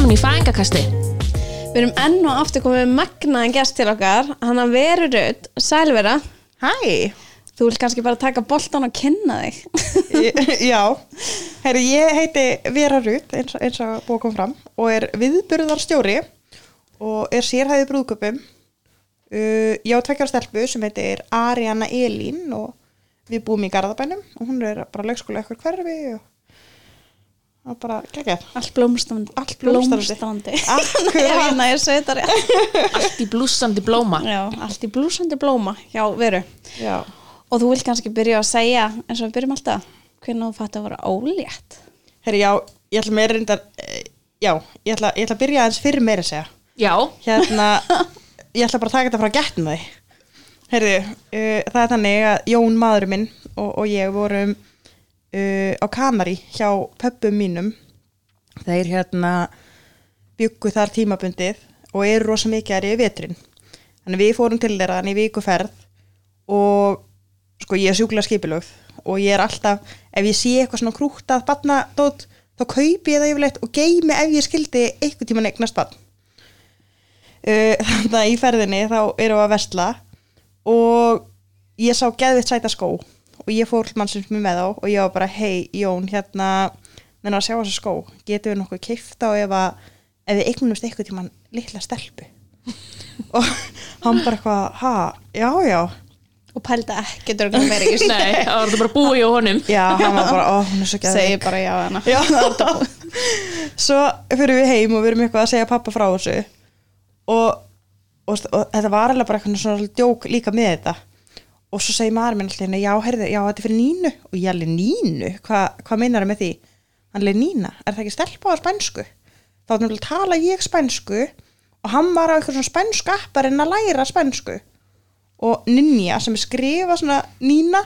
spurningakasti Við erum enn og aftur komið með magnaðan gest til okkar, hann að veru raut, sælvera, Hæ, þú vil kannski bara taka boltan og kynna þig. Ég- já, herri ég heiti Vera Rut eins, og- eins og búið kom fram og er viðburðarstjóri og er sérhæði brúðköpum. Uh, ég á tvekkjára stelpu sem heitir Arianna Elín og við búum í Garðabænum og hún er bara leikskóla ekkur hverfi og, og bara geggjað. Allt blómstandi. Allt blómstrandi. Blómstandi. Akkurat. Ég vinna, ég segi þetta rétt. Allt í blúsandi blóma Já, allt í blúsandi blóma, já, veru. Já, Og þú vil kannski byrja að segja, eins og við byrjum alltaf, hvernig þú fætti að vera ólétt. herri já, ég ætla meira reyndar, eh, já, ég ætla, ég ætla að byrja aðeins fyrir meira að segja. Já, hérna, ég ætla bara að taka þetta frá getnum því Herðu, uh, það er þannig að Jón maður minn og, og ég vorum uh, á Kanari hjá pöppum mínum þeir hérna byggu þar tímabundið og eru rosa mikið aðri í vetrin þannig við fórum til þeirra þannig í vikuferð og sko ég er sjúklega skipilögð og ég er alltaf, ef ég sé eitthvað svona krúktað barnadót, þá kaupi ég það yfirleitt og geymi ef ég skildi eitthvað tíma eignast barn Uh, þannig að í ferðinni þá erum við að versla og ég sá geðvitt sæta skó og ég fór til mannsins mér með þá og ég var bara hei Jón hérna þannig að sjá þessa skó, getum við nokkuð kifta og ef, að, ef við eignumst eitthvað tímann litla stelpu og hann bara eitthvað ha, já já Og pælda ekki, dörgum verið ekki. nei, það var þetta bara að búa í honum já, hann var bara, ó, hún er svo geðvitt Segir bara já að hana. Já, svo fyrir við heim og við erum eitthvað að segja pappa frá þessu og, og, og þetta var alveg bara eitthvað svona svolítið djók líka með þetta og svo segir maður minn alltaf henni, já, heyrðu, já, þetta er fyrir Nínu og ég alveg Nínu, Hva, hvað meinar það með því? Hann alveg Nína, er það ekki stelpa á spænsku? Þá var náttúrulega tala ég spænsku og hann var á eitthvað svona spænsku appar en að læra spænsku og Ninja sem er skrifa svona Nína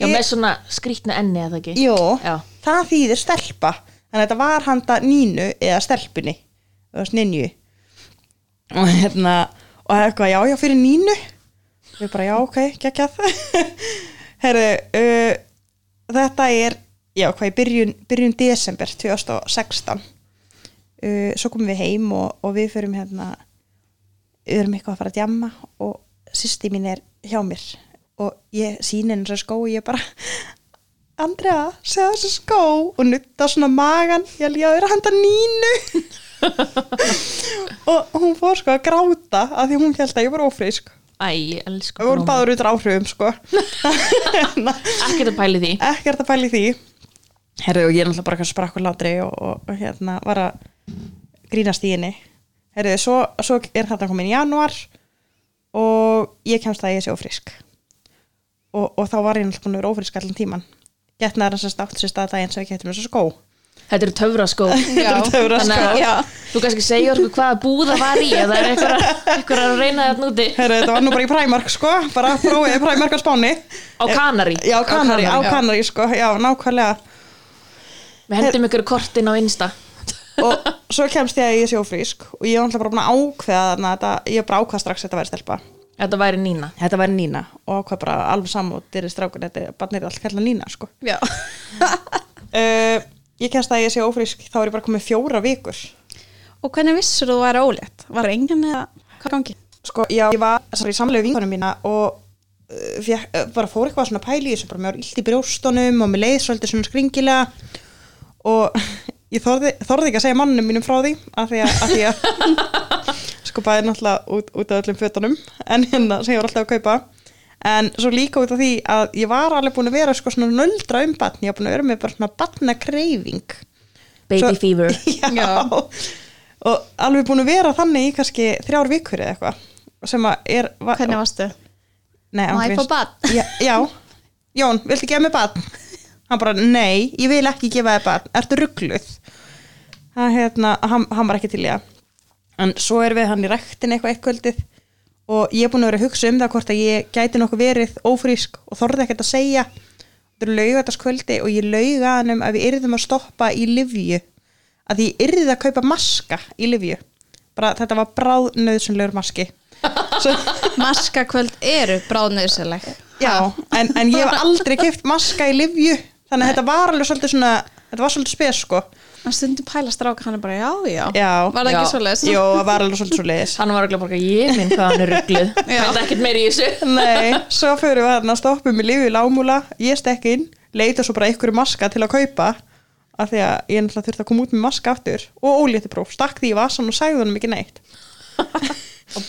Já, með svona skrýtna enni eða ekki Jó, Já. það þýðir stelpa Þannig að þetta var handa nínu eða stelpunni eða sninju og hérna og það er eitthvað, já, já, fyrir nínu við bara, já, ok, geggjað Herðu uh, þetta er, já, hvað í byrjun, byrjun desember 2016 uh, svo komum við heim og, og við fyrir hérna við erum eitthvað að fara að djamma og sýsti mín er hjá mér og ég síni henni þessar skó og ég bara Andrea, segja þessu skó og nutta svona magan ég held ég að vera handa nínu og hún fór sko að gráta af því hún held að ég var ófrísk Æ, elsku og við vorum blóma. báður út áhrifum sko Ekkert að pæli því ekkert að pæla í því herðu og ég er náttúrulega bara eitthvað sprakk og látri og, og, og hérna var að grínast í henni herðu svo, svo er þetta komin í januar og ég kemst að ég sé ófrísk og, og þá var ég náttúrulega búin að vera ófrísk allan tíman getnaðar hans að státt sér stað daginn sem ég getur með þessu skó Þetta eru töfraskó Já. Þannig töfraskó. að Já. þú kannski segja okkur hvaða búða var í eða er einhver að, einhver að reyna þetta núti Herru, þetta var nú bara í Primark sko, bara prófið í Primark á Spáni. á Kanari Já, á Kanari, á Kanarí. Kanari sko, já, nákvæmlega. Við hendum ykkur kortin á Insta Og svo kemst ég að ég sé ófrísk og ég var alltaf bara búin að ákveða þarna, þetta, ég bara ákvað strax að þetta væri stelpa. Þetta væri Nína Þetta væri Nína og ákvað bara alveg saman og dyrir strákun, þetta barnir er allt kallað Nína sko. Já. Uh, ég kemst að ég sé ófrísk, þá er ég bara komið fjóra vikur. Og hvernig vissur þú að vera ólétt? Var enginn eða hvað gangi? Sko, já, ég var sorry, í samlegu vinkonum mína og uh, fjek, uh, bara fór eitthvað svona pæli í þessu, bara mér var illt í brjóstunum og mér leið svolítið svona skringilega og ég þorði, þorði ekki að segja mannum mínum frá því af því að, af því að sko bæði náttúrulega út, út af öllum fötunum en hérna sem ég var alltaf að kaupa en svo líka út af því að ég var alveg búin að vera sko svona nöldra um batn ég var búin að vera með bara svona batna kreifing Baby Svo- Fever já. og alveg búin að vera þannig í kannski þrjár vikur eða eitthvað sem að er va Hvernig varstu? nei, án Má ég gríns. fá barn? já, já, Jón, viltu gefa mér badn? hann bara, nei, ég vil ekki gefa þér badn ertu ruggluð hann, hérna, hann, hann var ekki til ég en svo er við hann í rektin eitthvað eittkvöldið og ég er búin að vera að hugsa um það hvort að ég gæti nokkuð verið ófrísk og þorði ekkert að segja þetta er laugataskvöldi og ég lauga hann um að við yrðum að stoppa í livju að því ég yrði að kaupa maska í livju bara þetta var bráðnöðsynlegur maski svo, Maskakvöld eru bráðnöðsileg. Já, en, en ég hef aldrei keft maska í livju þannig að þetta var alveg svolítið svona Þetta var svolítið spes sko hann stundum pæla stráka, hann er bara, já, já, Já. var það ekki Já. svoleiðis? Jó, það var alveg svolítið svo leiðis Hann var örugglega bara eitthvað, ég minn hvað hann er ruggluð Já. Þetta er ekkert meir í þessu Nei, svo fyrir við hann að stoppum í lífi í lámúla Ég stekk inn, leita svo bara einhverju maska til að kaupa af því að ég náttúrulega þurfti að koma út með maska aftur og ólítipróf, stakk því í vasan og sagði honum ekki neitt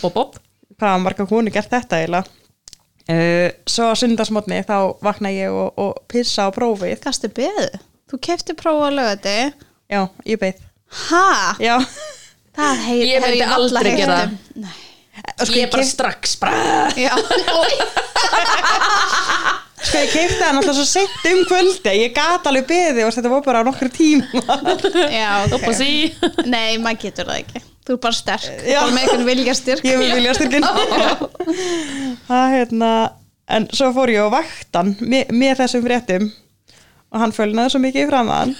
Bob, bob, bob hvað hafa marga konu gert þetta eiginlega uh, svo að sundarsmotni þá vakna ég og, og pissa á prófið Gastu beðið? Þú kefti prófa að löga þetta já, ég beið Ha? já, Það heyr, Ég myndi aldrei um. gera það. Nei sko Ég ég, er bara keypt, strax bara Já, sko ég keipti hann alltaf svo sett um kvöldi ég gat alveg beðið og þetta var bara nokkur tíma já Upp og ok. sí Nei, maður getur það ekki Þú er bara sterk, þú er Já. bara með einhvern vilja styrk ég vil vilja styrkin það hérna en svo fór ég á vaktan með, með þessum fréttum og hann fölnaði svo mikið fram að hann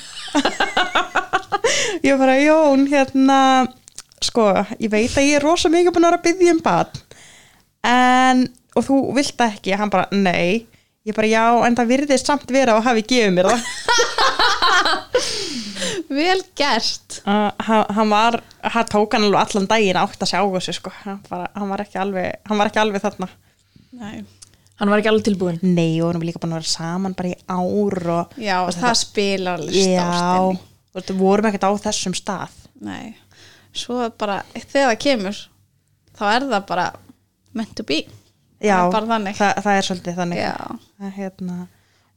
ég bara Jón hérna sko ég veit að ég er rosa mikið búin að vera að byggja um bad en og þú vilt það ekki, hann bara nei ég bara já, en það virðist samt vera og hafi gefið mér það Vel gert Uh, hann hann var, hann tók hann alveg allan daginn átt að sjá þessu sko hann, bara, hann, var ekki alveg, hann var ekki alveg þarna Nei. Hann var ekki alveg tilbúin Nei, og hann var líka búin að vera saman bara í ár og Já, það, spilar list já, og þetta vorum ekkert á þessum stað. Nei, svo er bara þegar það kemur þá er það bara meant to be Já, það er bara þannig Það, það er svolítið þannig. Já, Það, hérna,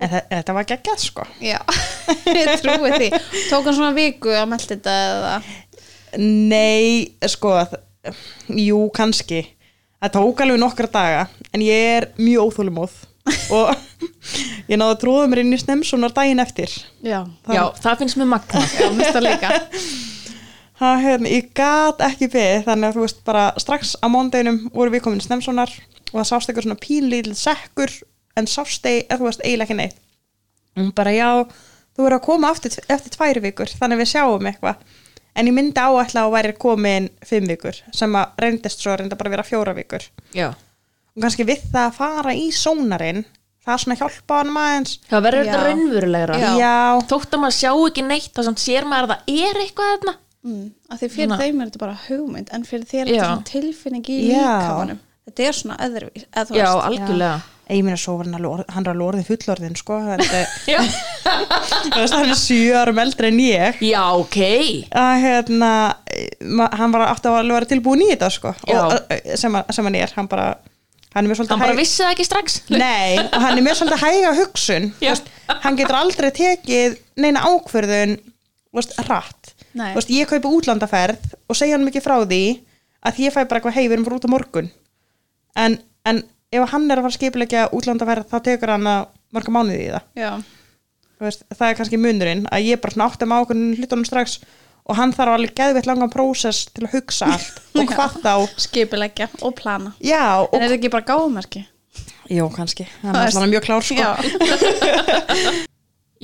en það, þetta var geggjað sko. já, ég trúi því Tók hann svona viku að melda þetta eða Nei, sko, þ- jú, kannski. Það tók alveg nokkra daga, en ég er mjög óþólumóð og ég náðu að tróða mér inn í snemsunar daginn eftir. Já, Já, það finnst mér magna já, mista líka Ha, hérna, ég gat ekki beðið þannig að þú veist bara strax á mándeginum voru við komin snemsonar og það sást eitthvað svona pínlítil sekkur en sást ei, eða þú veist eiginlega ekki neitt og hún bara já, þú verður að koma aftur, eftir tvær vikur þannig að við sjáum eitthvað en ég myndi áætla að hún væri komin fimm vikur sem að reyndist svo reynda bara að vera fjóra vikur Já og kannski við það að fara í sónarinn það svona hjálpa hann aðeins Það verður Já. þetta raunverulegra Já. já, Þótt að maður sjá ekki neitt þá samt sér maður að það er eitthvað þarna mm, að Því fyrir Svona- þeim er þetta bara hugmynd en fyrir þér er þetta Já. svona tilfinning í Já. líkamanum Þetta er svona öðruvís eða þú Já, veist. algjörlega ég meina svo var hann alveg orð- hann er alveg orðið fullorðin sko, þannig að Já, Þú veist, hann er sjö árum eldri en ég Já ok að hérna ma- hann bara átti að alveg vera tilbúin í þetta sko, Já. og, sem, hann- sem hann er hann bara, hann er með svolítið Hann bara hæg- vissi það ekki strax Nei, og hann er með svolítið hæga hugsun Þú Já. veist, hann getur aldrei tekið neina ákverðun þú veist, rætt Nei. Þú veist, ég kaupi útlandaferð og segja hann mikið frá því að ég fæ bara eitthvað hey, við erum bara út á morgun en, en ef hann er að fara að skipilegja útlandaferð þá tekur hann að marga mánuði í það Já, Þú veist, það er kannski munurinn að ég bara svona átti með ákveðinu hlutunum strax og hann þarf alveg geðveitt langan prósess til að hugsa allt og hvað þá skipilegja og plana já, En og, er þetta ekki bara gáðmerki? jú kannski hann er alveg mjög klár sko Já,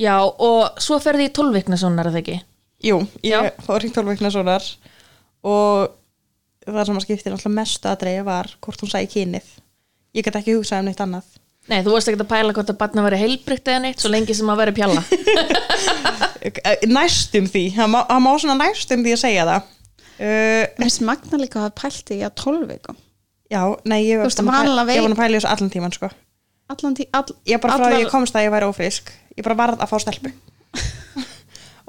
Já, og svo ferði ég tólvikna svona er það ekki jú, Já. ég fór í tólveikna svonar og það sem að skiptir alltaf mestu að dreif var hvort hún sagði kynið ég get ekki hugsað um neitt annað Nei, þú varst ekkert að pæla hvort að barna væri heilbrygt eða neitt svo lengi sem að veri pjalla Eh, næstum því, hann má, hann má svona næstum því að segja það uh, Mér finnst magna líka að hafa pælt í að 12 vikum já, nei, Þú ég var veist, búin að vanalega pæla- ég var veit- búin að pæla í þessu allan tíman sko Allan tí, all, ég bara frá allar- því ég komst að ég væri ófrísk ég bara varð að fá stelpu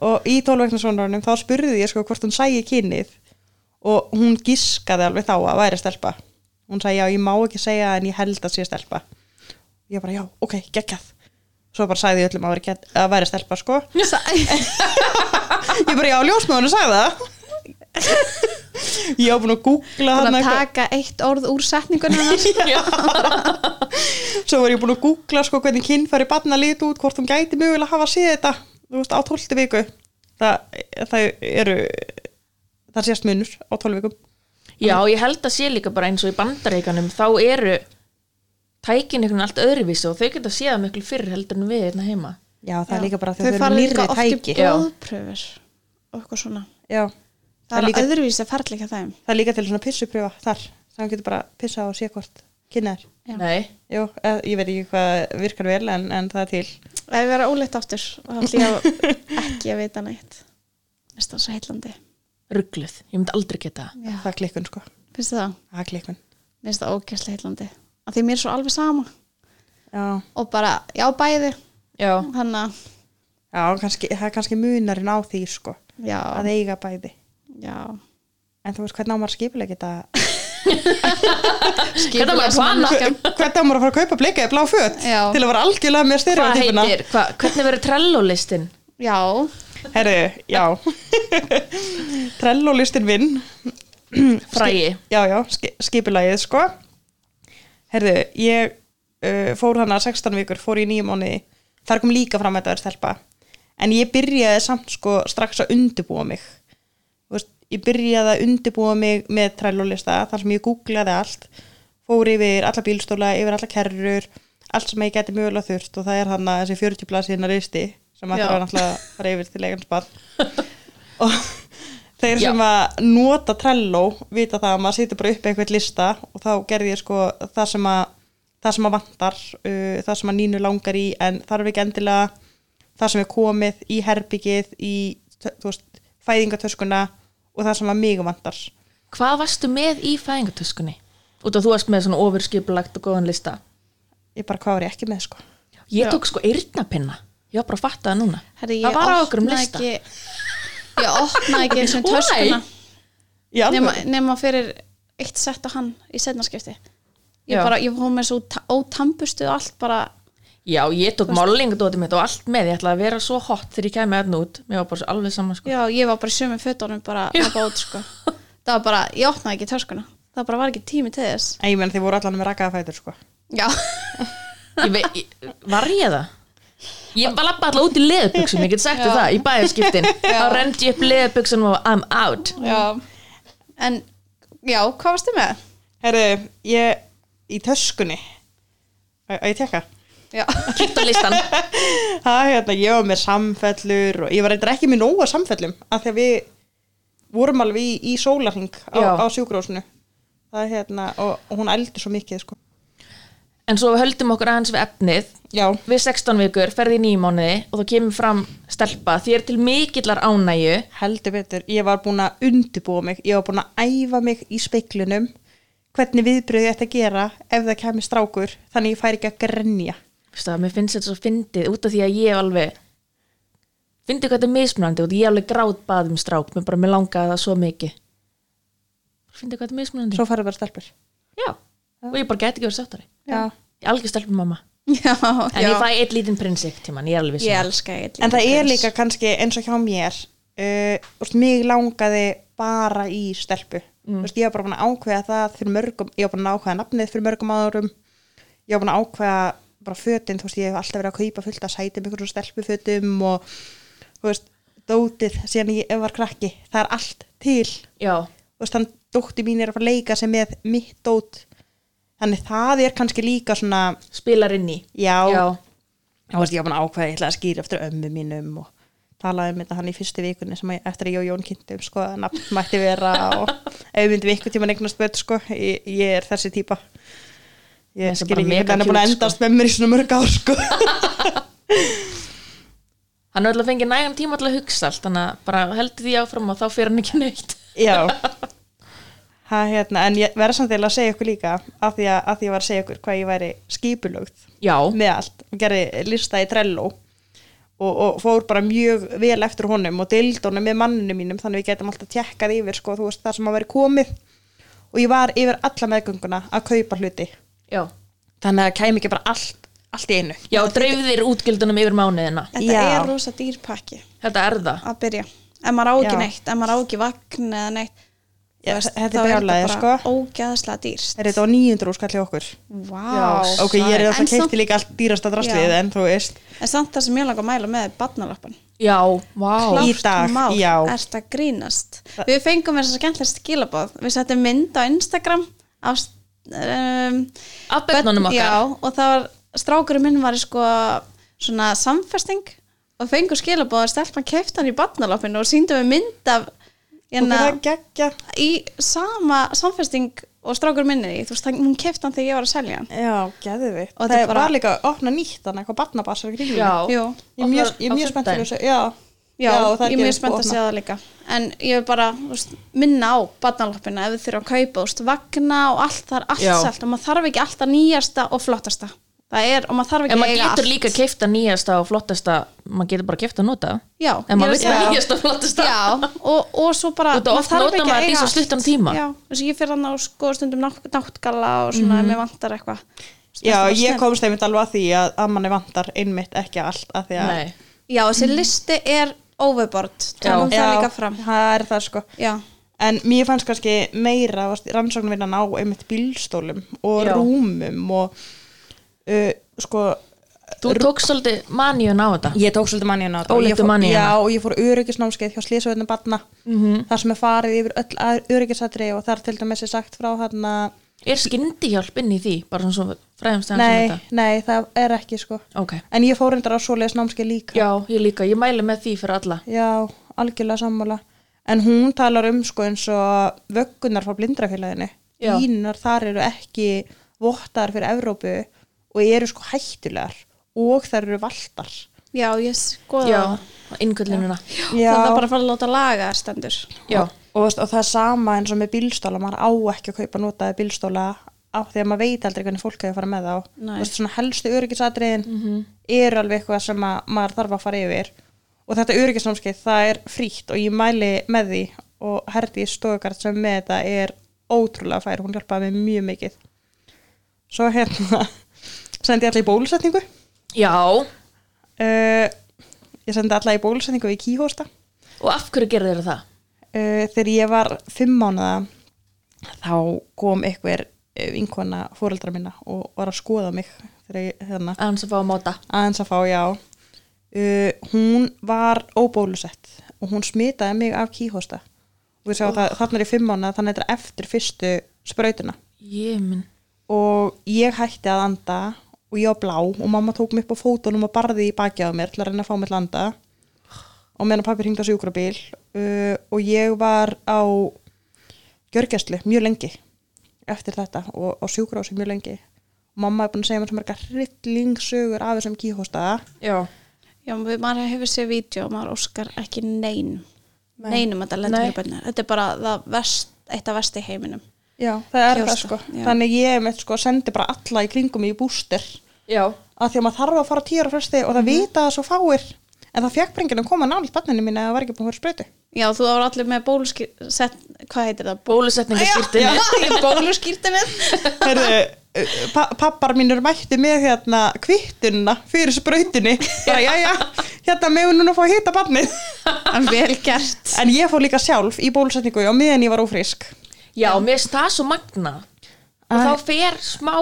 og í tólveiknarsvonarunum þá spurði ég sko hvort hún sægi kynið og hún gískaði alveg þá að væri stelpa hún sagði já ég má ekki segja það en ég held að sé stelpa ég bara já ok geggjað svo bara sagði ég öllum að væri, get- að væri stelpa sko Sæ- ég bara já ljósmaðurinn sagði það ég á búin að googla Búin þarna að eitthvað. taka eitt orð úr setningunum hennar Já, svo var ég búin að googla sko hvernig kynfæri barna líti út, hvort hún gæti mögulega að hafa séð þetta, þú veist, á 12 viku það, það eru það sést munur á 12 vikum Já, ég held að sé líka bara eins og í bandareikanum þá eru tækin einhvern allt öðruvísi og þau geta séð miklu fyrr heldur en við hérna heima já, það er líka bara Þau þegar þau fara eru líka nýrri oft í tæki Já. blóðpröfur og eitthvað svona já, Það er líka- líka... öðruvísi ferli ekki að þeim það er líka til svona pissupröfa þar, þannig að hann getur bara pissað og sé hvort kynna er Já. Nei, Jú, eh, ég veit ekki hvað virkar vel en, en það er til Það er verið óleitt aftur og það hlýja ekki að vita neitt. Veist það er svo heillandi. ruggluð, ég myndi aldrei geta það. Já. það er klikkun sko Finnst þið það? það er klikkun Mér finnst það ógæslega heillandi. Af því mér er svo alveg sama já. og bara, já bæði, já, þannig að, Já, kannski, það er kannski munarinn á því sko já, að eiga bæði já. en þú veist hvernig á maður skipuleg geta Hvernig á maður að plana? manneskjan. hvernig á maður að fara að kaupa blika í blá föt Já. til að vera algjörlega með hvað styrjóðtífuna heitir, hva, hvernig verður trellolistin Já, herru, já trello listin vinn frægi, já, já, ski, skipulagið sko herðu, ég uh, fór hana 16 vikur, fór í nýjum mánuði þar kom líka fram að þetta er stelpa en ég byrjaði samt sko strax að undibúa mig Þú veist, ég byrjaði að undibúa mig með trælólista, þar sem ég googlaði allt fór yfir alla bílstóla yfir alla kerrur, allt sem ég geti mjögulega þurft og það er hann að þessi 40 blaðsíðna risti sem að Já. það var náttúrulega að fara yfir til eigans barn og þeir Já. sem að nota Trello vita það að maður situr bara upp eitthvað lista og þá gerði ég sko það sem að það sem að vantar, uh, það sem að nínu langar í en þarf ekki endilega það sem er komið í herbyggið í, þú veist, fæðingatöskuna og það sem að mig vantar hvað varstu með í fæðingatöskunni út af þú varst með svona ofurskipulagt og góðan lista ég bara hvað var ég ekki með sko ég tók sko eyrnapinna ég var bara að fatta það núna herri, ég það var á okkur um opnaði lista Ekki, ég opnaði ekki eins og Why? töskuna Já, nema, nema fyrir eitt sett á hann í setnarskipti. Ég Já. bara, ég fóð með svo ta- ótampustuð allt bara, já, ég tók málingadóti mitt og allt með ég ætlaði að vera svo hot þegar ég kæmi aðna út mér var bara svo alveg saman sko Já, ég var bara í sömu fötunum bara Já. að bót, sko. Það var bara, ég opnaði ekki töskuna. Það bara var ekki tími til þess. en ég menn þið voru allan með rakaða fætur sko Já, ég vei, ég, var ég það? Ég var lappa alltaf út í leðubuxum, ég get sagt þér það, í bæðaskiptin. Þá rendi ég upp leðubuxunum og I'm out. já. En, já, hvað varstu með? herru, ég í töskunni að að ég tekka Já, Kíkt á listan. Það, hérna, ég var með samfellur og ég var eitthvað ekki með nóga samfellum af því að við vorum alveg í, í sólarhing Já. á, á sjúkrósinu það er hérna, og, og hún eldi svo mikið sko. En svo við höldum okkur aðeins við efnið. Já, Við 16 vikur, ferði í nýmánuði og þá kemur fram stelpa. Þér til mikillar ánægju. heldur betur, ég var búin að undibúa mig ég var búin að æfa mig í speiklunum hvernig viðbröðu ég ætti að gera ef það kemur strákur, þannig ég fær ekki að grenja Vistu það, mér finnst þetta svo fyndið út af því að ég alveg fyndið hvað þetta er mismunandi út af ég alveg grátt baðum strák, mér bara mér langaði það svo mikið. Fyndið hvað þetta er mismunandi. svo færðu bara stelpur Já, og ég bara gæti ekki verið sáttari. Já. Ég er algjör stelpum já, En já. ég fæ eitt lítinn prinsip tíman, ég er alveg um Ég sem. elska eitt. en það er líka kannski eins og hjá mér uh, úst, mig langaði bara í stelpu úst, ég var bara búin að ákveða það fyrir mörgum ég var búin að ákveða nafnið fyrir mörgum árum ég var búin að ákveða bara fötin þú veist, ég hef alltaf verið að kaupa fullt að sæti með einhverjum stelpufötum og þú veist, dótið síðan ég var krakki það er allt til Já, þú veist, þannig dótti mín er að fara að leika sem með mitt dót þannig það er kannski líka svona spilar inn í. já, Já, þá varst ég að búin að ákveða ég ætlaði að skýra eftir ömmu mínum og talaði um þetta hann í fyrstu vikunni sem að eftir að ég og Jón kynntum sko að nafn mætti vera og ef við myndum einhvern tíma eignast börn sko, ég, ég er þessi típa Þetta er ég skil bara ekki mega hvernig hann er búin cute, að sko. endast með mér í svona mörg ár sko hann er alltaf fengið nægan tíma alltaf að hugsa allt, þannig að bara heldur því áfram og þá fyrir hann ekki neitt. Já ha, hérna, En ég verða samt eða að segja ykkur líka af því að, af því að ég var að segja ykkur hvað ég væri skipulögt Já, með allt og gerði lista í Trello og, og fór bara mjög vel eftir honum og deildi honum með manninu mínum þannig við getum alltaf tjekkað yfir sko, þú veist, það sem að veri komið og ég var yfir alla meðgönguna að kaupa hluti já. þannig að kæmi ekki bara allt, allt í einu Já, dreifðir útgjöldunum yfir mánuðina. Þetta Já. er rosa dýrpakki Þetta er það. að byrja. Ef maður á ekki Já. neitt, ef maður á ekki vagn eða neitt, Já, þú veist, þetta er þá þetta brjálæði, bara sko. ógæðslega dýrst. er þetta á 900 skall í okkur Vá. ok, ég er En alltaf samt- keipti líka allt dýrasta Já. drastlið en þú veist, En samt það sem ég langar að mæla með er badnalappan. Já, vá. Í dag, mál, já. ert að grínast við fengum þess að skemmtilega skilabóð við settum mynd á Instagram af um, Af börnunum okkar. já, og það var, strákurinn minn var í sko svona samfesting og fengum skilabóð að stelpa keftan í badnaloppinu og síndum við mynd af og hérna, það geggja í sama samfesting og strákur minni því, þú veist, hann- hún kefti hann þegar ég var að selja hann Já, geðið við. Og þetta Það er bara- var líka að opna nýtt hann eitthvað barnabarsar í grílunum. Já. Jú. Ég er mjög, Opnar ég er á mjög spennt fyrir fimmtudaginn. þessu. Já, Já, og það ég er mjög gerist spennt að opna. segja það líka en ég vil bara þú veist, minna á barnaloppina ef þið þurfa að kaupa þú veist, vagna og allt það er allt Já. selt og maður þarf ekki alltaf nýjasta og flottasta það er, og maður þarf ekki En að maður eiga getur allt. líka kefta nýjasta og flottasta maður getur bara kefta nota Já, En maður ég vil er að að segja- nýjasta og flottasta Já, og, og svo bara Þú veit að oft notar maður þetta í svo allt. stuttan tíma. Já, þess að ég fyrir hann á sko stundum nátt- náttgalla og Mhm. svona mm mér vantar eitthvað já ég komst einmitt alveg að því að, að manni vantar einmitt ekki allt að því að Nei, Já, þessi listi er overboard Tónum Já, það líka fram það er það sko. Já, En mér fannst kannski meira rannsóknvinnan á einmitt bílstólum og Já. rúmum og uh, sko þú tók svolítið maníun á þetta Ég tók svolítið manni hérna Óléttu manni hérna. Já, og ég fór öryggisnámskeið hjá Slísavöðnum barna Mhm. þar sem er farið yfir öll að- öryggisatri og þar til dæmis er sagt frá hérna Er skyndi hjálp inn í því? Bara svona fræðumst aðeins um Nei, þetta nei, það er ekki sko Ok, En ég fór reyndar á svoleiðis námskeið líka já, ég líka, ég mæli með því fyrir alla Já, algjörlega sammála En hún talar um sko eins og vöggunar frá blindrafélaginu Já. Línunar þar eru ekki vottar fyrir Evrópu og eru sko hættulegar og þær eru valtar já, ég skoða Já, það innköllunina Já. Það er bara að fara að láta laga þær stendur Já, og, veist, og það er sama eins og með bílstóla maður á ekki að kaupa notaði bílstóla af því að maður veit aldrei hvernig fólk hefur farið með þá Nei. Þú veist, svona helstu öryggisatriðin eru alveg eitthvað sem að, maður þarf að fara yfir og þetta öryggisnámskeið það er frítt og ég mæli með því og Herdi Stogart sem er með þetta er ótrúlega fær, hún hjálpaði mig mjög mikið svo hérna sendi ég alla í bólusetningu já uh, ég sendi alla í bólusetningu í kíhósta Og af hverju gerðu þeir það? uh, þegar ég var fimm mánuða þá kom einhver eh, vinkona fóreldra minna og var að skoða mig þegar ég hérna Að hans að fá að móta aðeins að fá já uh, hún var óbólusett og hún smitaði mig af kíhósta og við sjáum það þarna er ég fimm mánuða þannig að þetta er eftir fyrstu sprautuna Ég minn og ég hætti að anda og ég var blá og mamma tók mig upp á fótunum og barði í baki á mér til að reyna að fá mig til að anda og meðan pappi hringdi á sjúkrabíl uh, og ég var á gjörgæslu mjög lengi eftir þetta og á sjúkrabíl mjög lengi og mamma er búin að segja mér sem er eitthvað hryllingsögur af þessum kíhósta Já, Já, við- maður hefur séð vídeo og maður óskar ekki nein Nei. Neinum að það lendur Nei. fyrir bönni Þetta er bara það verst, eitt af verst í heiminum já, það er Kíghósta, það sko já. þannig ég með, sko, sendi bara alla í kringum í bústir já að því að maður þarf að fara á tíu ára fresti og það vita það svo fáir en það fekk brengin að koma nált banninu mín eða það var ekki búin að vera sprötu Já, þú var allir með bóluskýrt sett, Hvað heitir það? Bólusetningaskýrtin Bóluskýrtinni Heyrðu, eh, pa pappar mínur mættu með hérna kvittunna fyrir sprautinni bara jæja, hérna meðum núna að fá að hitta barnið Vel gert en ég fór líka sjálf í bólusetningu og meðan ég var ófrísk Já, mér finnst það svo magna Og Æ. þá fer smá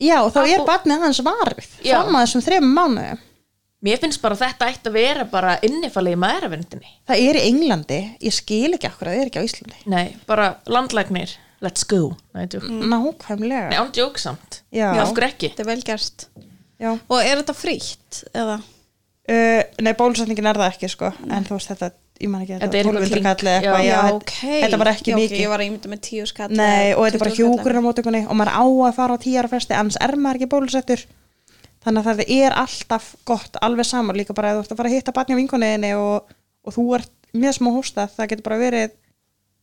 já, þá Að er bú- barnið hans varð Já. fram að þessum þremum mánuðum Mér finnst bara þetta ætti að vera bara innifalið í maðurvendinni það er í Englandi, ég skil ekki akkur að það er ekki á Íslandi Nei, bara landlæknir Let's go Nei, mm. Nei nákvæmlega án djóksamt Já. sko. Af hverju ekki? Þetta er vel gert já. Og er þetta frítt? Eða? Uh, nei, bólusetningin er það ekki sko Mm. en þú veist þetta, ég man ekki Þetta er eitthvað 1200 kling. kall eða Já. eitthvað, já, Já, þetta- ok þetta var ekki já, ok, mikið Ég var að ímynda með tíu skall Nei, og þetta er 20 bara skall. hjúkurunamótökunni og maður á að fara á tíjar fresti, annars er maður ekki bólusettur þannig að það er alltaf gott alveg saman líka bara að þú ert að fara að hitta barni á vinkonniðinni og, og þú ert með smá hósta, það getur bara verið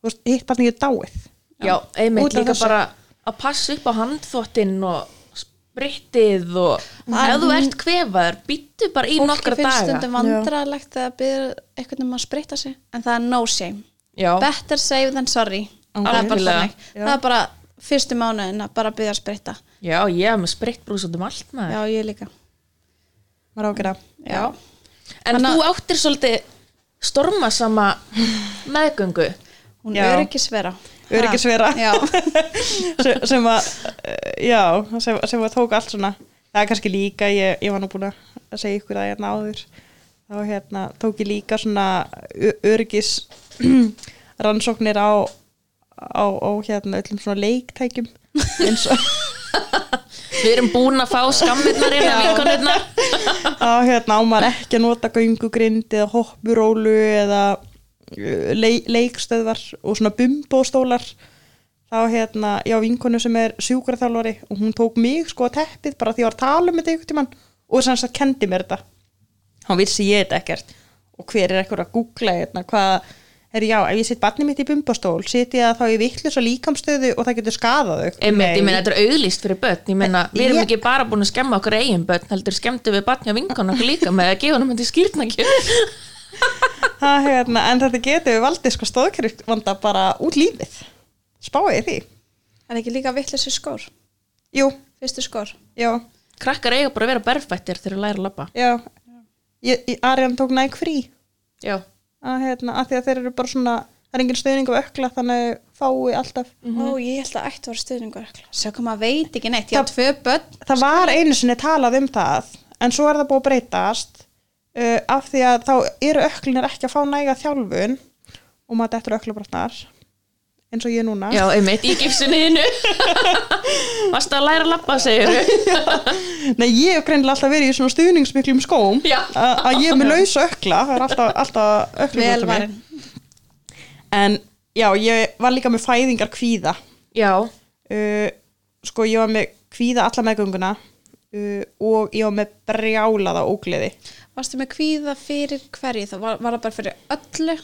þú veist, hitt barnið er dáið Já, einmitt Út af líka þessu. bara að passa upp á handþvottinn og sprittið og ef þú ert kvefaður, býttu bara í Fólki nokkra finnst daga stundum vandralegt þegar byrður einhvern veginn að spritta sig en það er no shame Já, Better save than sorry það, er bara Algjörlega. þannig. það er bara fyrstu mánuðin að bara byrða að spritta já, ég hef með sprittbrús út um allt maður Já, ég líka maður ákveða Já, En þú áttir svolítið stormasama meðgöngu hún Já. er ekki svera Öryggisvera. Já, sem, sem að, eh, já, sem, sem að tók allt svona það er kannski líka, ég, ég var nú búin að segja ykkur að ég náður þá hérna, tók ég líka svona ö- öryggis rannsóknir á, á, á hérna, öllum svona leiktækjum eins og Við erum búin að fá skammirnar hérna, inn að vinkonirnar á hérna, á maður ekki að nota göngugrind eða hoppurólu eða uh, le leikstöðvar og svona bumbóstólar þá hérna, já, vinkonu sem er sjúkraþjálfari og hún tók mig sko á teppið bara því ég var að tala um þetta ykkur tímann og sem sagt kendi mér þetta hann vissi ég þetta ekkert og hver er ekkur að googla hérna hvað er já, ef ég sitt barnið mitt í bumbastól sitt ég að þá ég vitlu svo líkamstöðu og það getur skadað þau Einmitt, ég meina, þetta er auðlýst fyrir börn ég meina, við erum Ég- ekki bara búin að skemma okkur eigin börn heldur skemmtum við barni og vinkon okkur líka með að gefa honum þetta skýrna ekki ha, hérna, en þetta getur valdið sko stóðkerfitt vanda bara út lífið spáið því, er ekki líka vittleysi skór, jú, fyrstu skór já krakkar eiga bara að vera berfættir þegar þeir læra að labba já, ég, ég, Arjan tók næg frí já, að, hérna, að því að þeir eru bara svona það er engin stöðning af ökla þannig að þau fái alltaf Ó, ég held að ætti að vera stuðningur Sjá hvað maður veit ekki neitt, ég á Það- tvö börn það var einu sinni talað um það en svo er það búið að breytast uh, af því að þá eru öklinir ekki að fá næga þjálfun og maður dettur öklabrotnar eins og ég er núna já einmitt, í gipsinu þínu varstu að læra að labba, segir þau Nei, ég hef greinilega alltaf verið í svona stuðningsmiklum skóm Já. að að ég er með lausa ökla það er alltaf, alltaf ökla Vel varin en já, ég var líka með fæðingar kvíða já, uh, sko ég var með kvíða alla meðgönguna uh, og ég var með brjálaða ógleði Varstu með kvíða fyrir hverju þá? Var, var það bara fyrir öllu?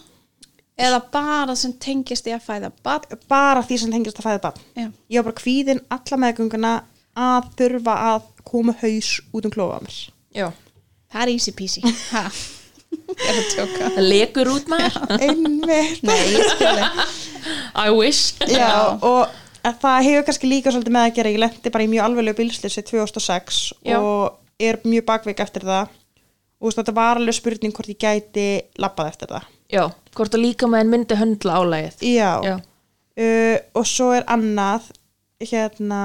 Eða bara sem tengist í að fæða bad? bara því sem tengist að fæða barn Já. ég var bara kvíðin alla meðgönguna að þurfa að koma haus út um klófa á mér já Það er easy peasy. Ha. ég er að tjóka. það lekur út maður, einmitt Nei, ég skilði. I wish já, og að það hefur kannski líka svolítið með að gera ég lendi bara í mjög alveglega bilslýsi 2006 Já. og er mjög bakveik eftir það og þú veist, þetta var alveg spurning hvort ég gæti labbað eftir það já, hvort að líka maður myndi höndla álægið já, Já. Uh, og svo er annað hérna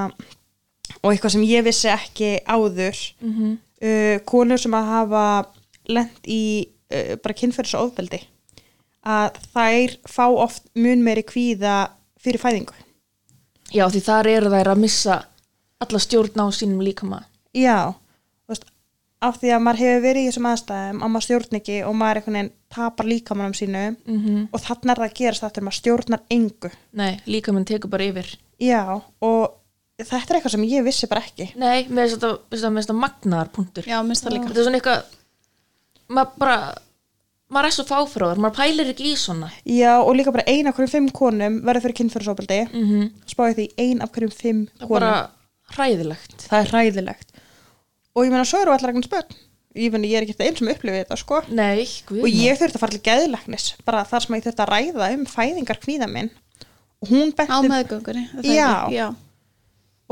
og eitthvað sem ég vissi ekki áður Mhm. -hmm. uh, konur sem að hafa lent í uh, bara kynferðis og ofbeldi að þær fá oft mun meiri kvíða fyrir fæðingu já, því þar eru þær að missa alla stjórn á sínum líkama já, þú veist af því að maður hefur verið í þessum aðstæðum að maður stjórn ekki og maður einhvern veginn tapar líkamannum sínu -hmm. og þannig er það að gerast þetta maður stjórnar engu nei, líkaminn tekur bara yfir já, og þetta er eitthvað sem ég vissi bara ekki Nei, með þess að þetta með þess að magnaðar punktur Já, minnst það líka. Þetta er svona eitthvað maður bara maður er svo fáfróður, maður pælir ekki í svona Já, og líka bara ein af hverjum fimm konum verður fyrir kynfyrirsofbeldi mm -hmm. spáði því ein af hverjum fimm það er konum bara hræðilegt það er hræðilegt og ég meina svo eru allar eginn spönn ég, meina, ég er ekki þetta einn sem upplifið þetta sko Nei, og guð ég þurfti að fara til geðlagnis bara þar sem ég þurfti að ræða um fæðingar kvíða minn og hún Á benti meðgöngunni. er það Já. ekki? Já.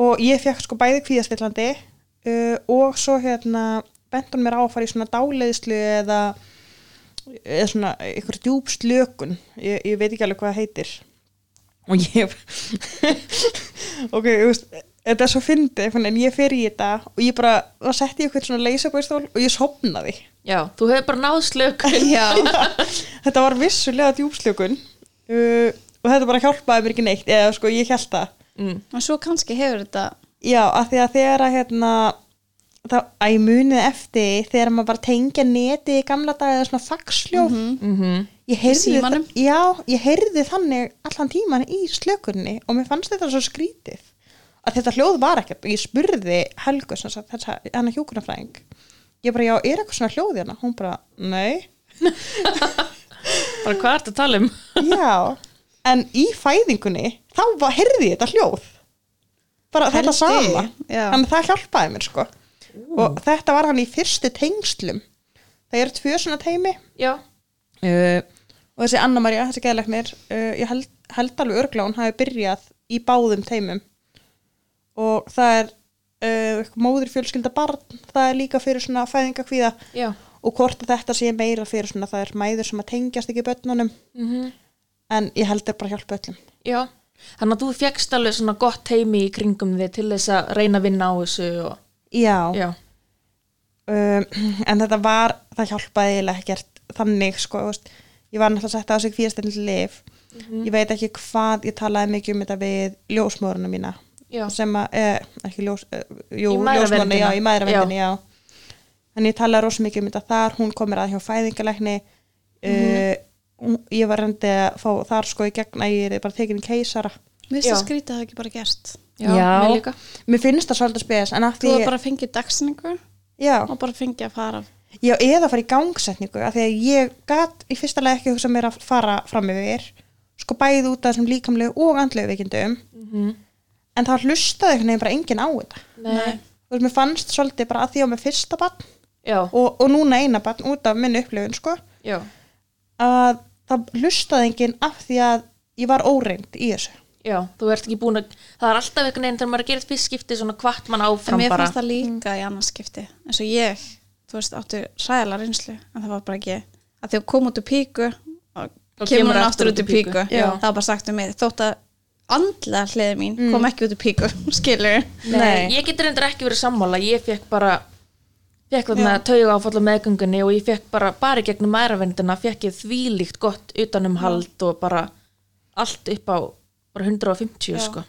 og ég fekk sko bæði kvíðastillandi uh, og svo hérna bent hún mér á að fara í svona dáleiðslu eða, eða svona ykkur djúpslökun ég, ég veit ekki alveg hvað það heitir og ég ok, þú veist þetta er svo fyndið, einhvern veginn, en ég fer í þetta og ég bara, þá setti ég eitthvað svona leysabæstól og ég sopnaði Já, þú hefur bara náð slökun Já. þetta var vissulega djúpslökun uh, og þetta bara hjálpaði mér ekki neitt eða sko, ég held það mm. Og svo kannski hefur þetta... Já, af því að þegar að hérna þá að ég munið eftir þegar maður var að tengja neti í gamla dag eða svona faxljóð Mm ég heyrði símanum? þa- já, ég heyrði þannig allan tíman í slökunni og mér fannst þetta svo skrítið að þetta hljóð var ekkert og ég spurði Helgu sem sagt, þessa, hennar hjúkunarfræðing ég bara, já, er eitthvað svona hljóð hérna? hún bara, nei bara hvað ertu að tala um? já, en í fæðingunni þá var, heyrði ég þetta hljóð bara þetta Heldi, sama já. þannig að það hjálpaði mér sko og þetta var hann í fyrstu tengslum það eru tvö svona teimi Já, uh, og þessi Anna Maria, þessi geðleiknir uh, ég held, held alveg örgla hún hafi byrjað í báðum teimum og það er uh, móður fjölskylda barn það er líka fyrir svona fæðingakvíða já og hvort að þetta sé meira fyrir svona það er mæður sem að tengjast ekki börnunum mm en ég held heldur bara að hjálpa öllum Já, þannig að þú fjekkst alveg svona gott heimi í kringum þig til þess að reyna að vinna á þessu og... Já, Já, Um, en þetta var, það hjálpaði eiginlega ekkert þannig sko, þú veist, ég var náttúrulega sett á sig kvíðastendli lif Mhm. ég veit ekki hvað, ég talaði mikið um þetta við ljósmóruna mína já, sem að, eh, ekki ljós eh, jú, Í mæðraverndina. ljósmóruna, já, í maðuravendinni, já. en ég talaði rosa mikið um þetta þar hún komir að hjá Eh, fæðingalækni mm ég var reyndi að fá þar sko í gegn að ég er bara tekin í keisara Mér finnst það Já. skrítið að það ekki bara gerst. Já, mér líka. Mér finnst það svolítið spes en að Þú því var bara að fengið dagsinningu já, og bara fengið að fara. já, eða fara í gangsetningu af því að ég gat í fyrsta lega ekki hugsa mér að fara fram yfir sko bæði út af þessum líkamlegu og andlegu veikindum en það hlustaði einhvern veginn bara enginn á þetta Mhm, Nei. þú veist, mér fannst svolítið bara að því á með fyrsta barn Já, og, og núna eina barn út af minni upplifun sko, já, að það hlustaði enginn af því að ég var óreind í þessu já, þú ert ekki búin að, það er alltaf einhvern veginn þegar maður er að gera þetta fyrst skipti svona hvart mann En áfram mér bara. fannst það líka í annarskipti. En svo ég, þú veist, átti sæðala reynslu, en það var bara ekki. Að því að kom út úr píku og kemur, hún aftur út úr píku. Já. Það var bara sagt um mig, þótt að andla hliði mín kom ekki út úr píku, skilur. Nei, Nei. ég getur endur ekki verið sammála, ég fekk bara, fekk þarna tauga áfalla meðgöngunni og ég fekk bara, bara í gegnum mæravendina, fekk ég þvílíkt gott utanumhald og bara allt upp á bara 150 sko.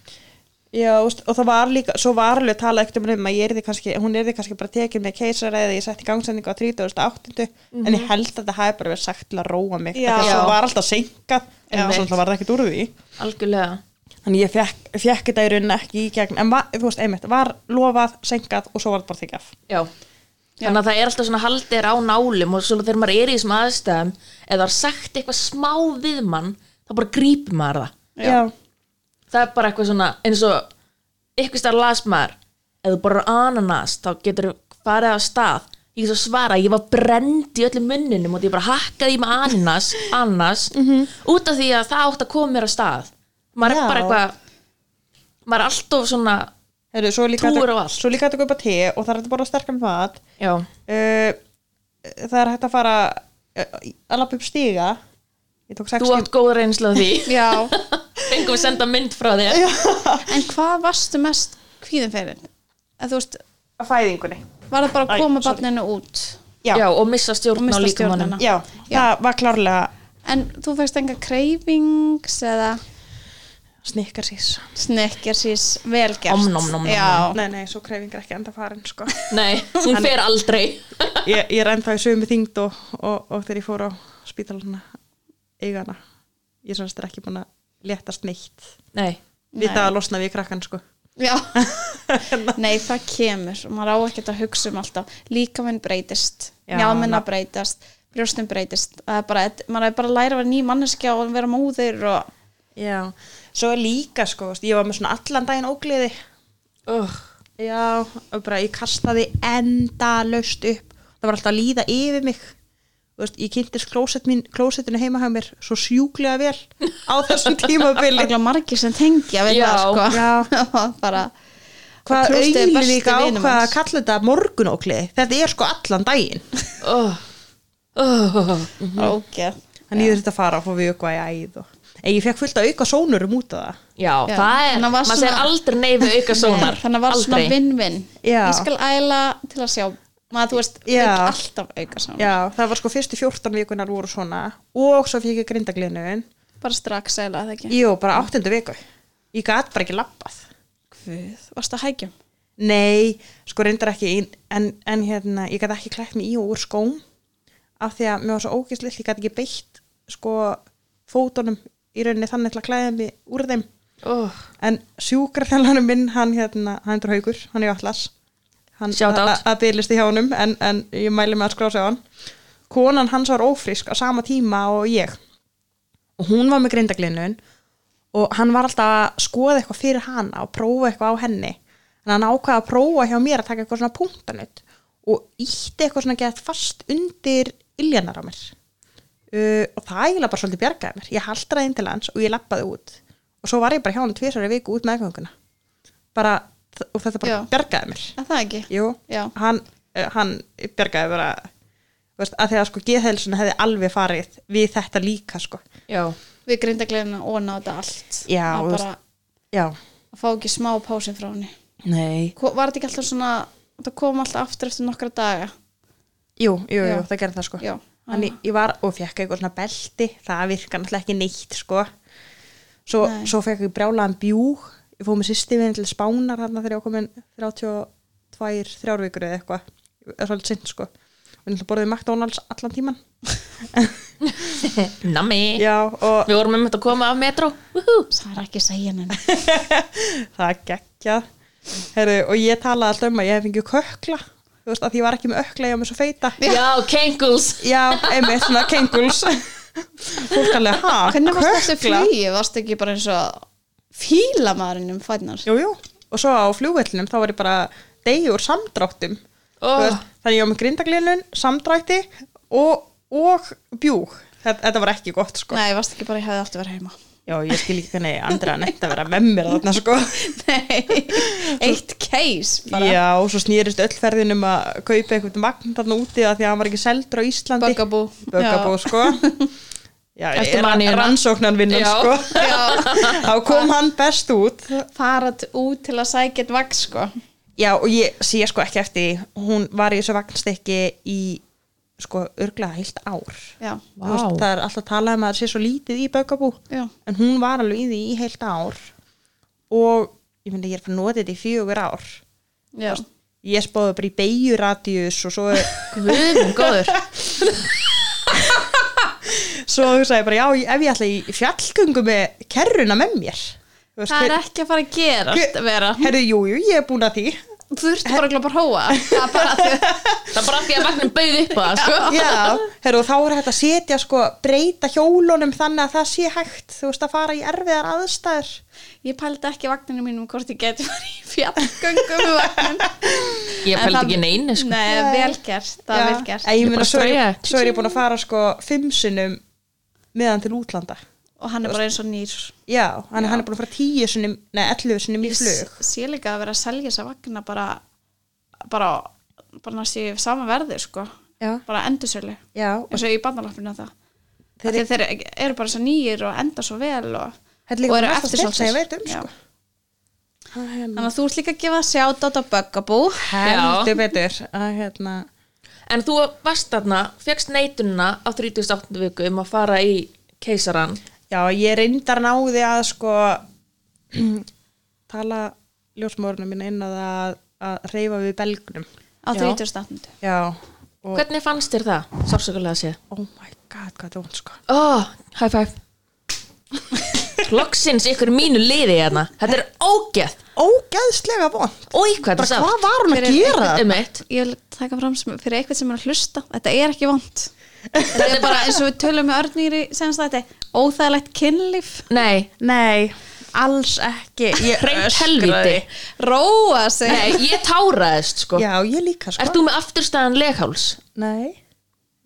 Já, úst, og það var líka, svo var alveg talað ekkert um um að ég erði kannski, hún erði kannski bara tekin með keisara eða ég setti gangsendingu á 38. en ég held að það hafi bara verið sagt til að róa mig, Já. af því að Mhm. Já. svo var alltaf seinkað, en Einmitt. svo alltaf var það ekkert úr því Algjörlega, þannig ég fekk, fekk þetta í raunin ekki í gegn en var, þú veist, einmitt, var lofað, seinkað og svo var þetta bara þykjaf já. Þannig að það er alltaf svona haldir á nálum og svona þegar maður er í þessum aðstæðum, ef það er sagt eitthvað smá við mann, þá bara grípur maður það. Já, það er bara eitthvað svona eins og ykkur starf las maður ef þú borður ananas þá getur farið af stað ég svo svara, ég var brend í öllum munninum og ég bara hakkaði í mig ananas, ananas út af því að það átt að koma mér af stað maður Já. er bara eitthvað maður er alltof svona Heru, svo líka Trúir hægt á að- allt. svo líka hægt að kaupa te og það er hægt að borða sterkan mat já, uh, það er hægt að fara uh, að lappa upp stíga ég tók sex þú átt góð reynslu af því Já. fengum við senda mynd frá þér en hvað varstu mest kvíðin fyrir? Að þú veist, tíma að fæðingunni var það bara Æ, að koma sorry. barninu út? Já. já, og missa Og stjórn á missa líka stjórnina. mannum Já, það var klárlega En þú fegst enga kreifings eða snikkarsís. snekkjarsís velgerst? Om, nom, nom, nom, Já, Nei, nei, svo kreyfingar ekki enda farin, sko. nei, hún fer aldrei Ég, ég er ennþá í sömu þyngd og, og, og þegar ég fór á spítalana eigana, ég er sannst ekki búin að léttast neitt. nei, Við það að losna við krakkan, sko. já. Nei, það kemur og maður á ekkert að hugsa um alltaf. Líkaminn breytist, Já, njáminna na- breytist, brjóstin breytist. Það er bara, maður er bara að læra að vera ný manneskja og vera móðir og Já, svo er líka, sko, veist, ég var með svona allan daginn ógleði. uh, Já, og bara ég kastaði enda löst upp. Það var alltaf að líða yfir mig. Þú Veist, ég kynntist klósett mín, klósettinu heima hjá mér svo sjúklega vel á þessum tímabili. örgulega margir sem tengja við Já, það, sko. Já. bara, hvað Klósettið er auðvitað besti líka á vinur hvað að manns. kalla þetta morgunókli þetta er sko allan daginn uh, uh. bara ógeð. þannig ég þurfti að fara og fá við ykkur í æð og... en ég fekk fullt að auka sónurum út af það Já, Já. það er, Þannig að var maður svona- segir aldrei nei við auka sónar Nei, þannig að var svona Aldrei. vinn-vinn Já. ég skal æla til að sjá maður þú veist, Já. auk, alltaf auka saman já, það var sko fyrstu 14 vikunar voru svona og svo fekk ég grindagliðnun bara strax æla það ekki jú, bara áttundu viku ég gat bara ekki lappað Guð, varstu að hækjum nei, sko reyndar ekki í- en, en hérna, ég gat ekki klætt mig í og úr skóm af því að mér var svo ógislill ég gat ekki beitt sko fótunum í rauninni þannig til að klæða mig úr þeim oh, en sjúkraþjálfanum minn hann hérna, hann er haukur, hann er í Atlas hann Shout out. a- a- að byrlisti hjá honum en, en ég mæli með að skrása á hann konan hans var ófrísk á sama tíma og ég og hún var með greindaglinnun og hann var alltaf að skoða eitthvað fyrir hana og prófa eitthvað á henni en hann ákvaða að prófa hjá mér að taka eitthvað svona punktanut og ítti eitthvað svona gett fast undir iljanar á mér uh, og það eiginlega bara svolítið bjargaði mér ég haldraði inn til hans og ég lappaði út og svo var ég bara hjá hann tvisari viku út meðgönguna bara, og þetta bara Já. bjargaði mér að það ekki Jú, Já. hann, eh, hann bjargaði bara þú veist, að því að sko geðhelsuna hefði alveg farið við þetta líka sko Já, við grindaglina og náðu allt Já, að þú bara Já, að fá ekki smá pási frá henni nei Ko- var þetta ekki alltaf svona það kom alltaf aftur eftir nokkra daga Jú, jú, Já. jú, það gerði það sko Já. Ah. Þannig ég var og fekk eitthvað svona belti það virka náttúrulega ekki neitt sko Svo, Nei. svo fekk ég brjálaðan bjúg ég fóð með sýsti minn til spánar þarna þegar ég var komin 32 þrjár vikur eða eitthvað, það er svolítið sint sko og ég náttúrulega borðið McDonalds allan tíman Eh. Nami Já, og Við vorum um þetta að koma af metro Woohoo. það er ekki að segja henni það er geggjað Heru, og ég talaði alltaf um að ég hef fengið kökla þú veist að því ég var ekki með ökla ég var með svo feita Já, kenguls já, einmitt svona kenguls fólk alveg, ha, hvernig varst þessu kökla flýi, varst ekki bara eins og fíla maðurinn um fætnar jú, jú. og svo á flugvellinum þá var ég bara degi úr samdráttum Þú Ah. oh. veist, þannig ég var með grindaglilun, samdrætti og, og bjúg þetta, þetta var ekki gott sko nei, varst ekki bara ég hefði aftur verið heima já, ég skil ekki hvernig Andra neitt að vera með mér þarna sko nei, eitt case bara já, og svo snýrist öll ferðinum að kaupa eitthvað magn þarna úti að því að hann var ekki seldur á Íslandi Böggabú Böggabó sko já, Eftir er- maníuna. rannsóknarvinnan Já. sko Já, þá kom hann best út fara t- út til að sækja eitt vaks sko já, og ég sé sko ekki eftir því. hún var í þessu vagnstykki í sko örglega heilt ár Já, Þú veist, það er alltaf talað um að það sé svo lítið í Böggabú já, en hún var alveg í því í heilt ár og ég myndi ég er fyrir notið þetta í fjögur ár já ég spáði bara í beigjuradius og svo, Guðum góður svo hugsaði ég bara já, ef ég ætla í fjallgöngu með kerruna með mér Þú veist, Það er hver- ekki að fara að gerast Hver- vera herðu, jú, jú, ég er búin að því Þú ert bara að glópa hóa Það er bara að þau Það er bara því að vagnum bauð upp á það sko. já, herðu, og þá er hægt að setja sko, breyta hjólunum þannig að það sé hægt þú veist að fara í erfiðar aðstæður Ég pældi ekki vagninu mínum hvort ég geti farið í fjallgöngu með vagnin Ég En pældi það- ekki neinu sko. Nei, vel gert, það er vel gert ég Ég meina, bara svo, er strauja. ég- svo er ég búin að fara sko fimm sinnum meðan til útlanda Og hann er bara eins og nýr já, hann, hann er búin að fara tíu sinnum nei, ellu sinnum í Ég flug s- sé líka að vera að selja þessa vagna bara bara, bara næstu í sama verði sko Já. bara endursölu Já, og eins og í bandarlappinu það Þeir- þeir, þeir eru bara svo nýjir og enda svo vel og, Þetta er líka og eru bara mesta stefna eftirsóttir ég veit um, Já. sko. að hérna. þannig að þú ert líka að gefa sjátt á Böggabú Heldur betur að hérna En þú varst þarna, fegst neitunina á 38. viku um að fara í keisaran Já, ég reyndar náði að sko tala ljósmórnum minna inn að, að, að reyfa við belgnum á 38. Já og, Hvernig fannst þér það? Sársökulega séð Oh my god, hvað það vond sko oh, High five Loksins ykkur í mínu liði hérna Þetta er ógeð Ógeðslega vond Og hvað þetta er Bara hvað sárt var hún að Fyrir- gera Um það? eitt ég vil taka fram sem, fyrir eitthvað sem er að hlusta þetta er ekki vond þetta er bara eins og við tölum með örnýri senast þetta óþægilegt kynlíf Nei, Nei, alls ekki um- Ég Hreint öskraði. helvíti. róa sig nei, ég táraðist sko Já, ég líka sko Ert þú með afturstæðan legháls? Nei,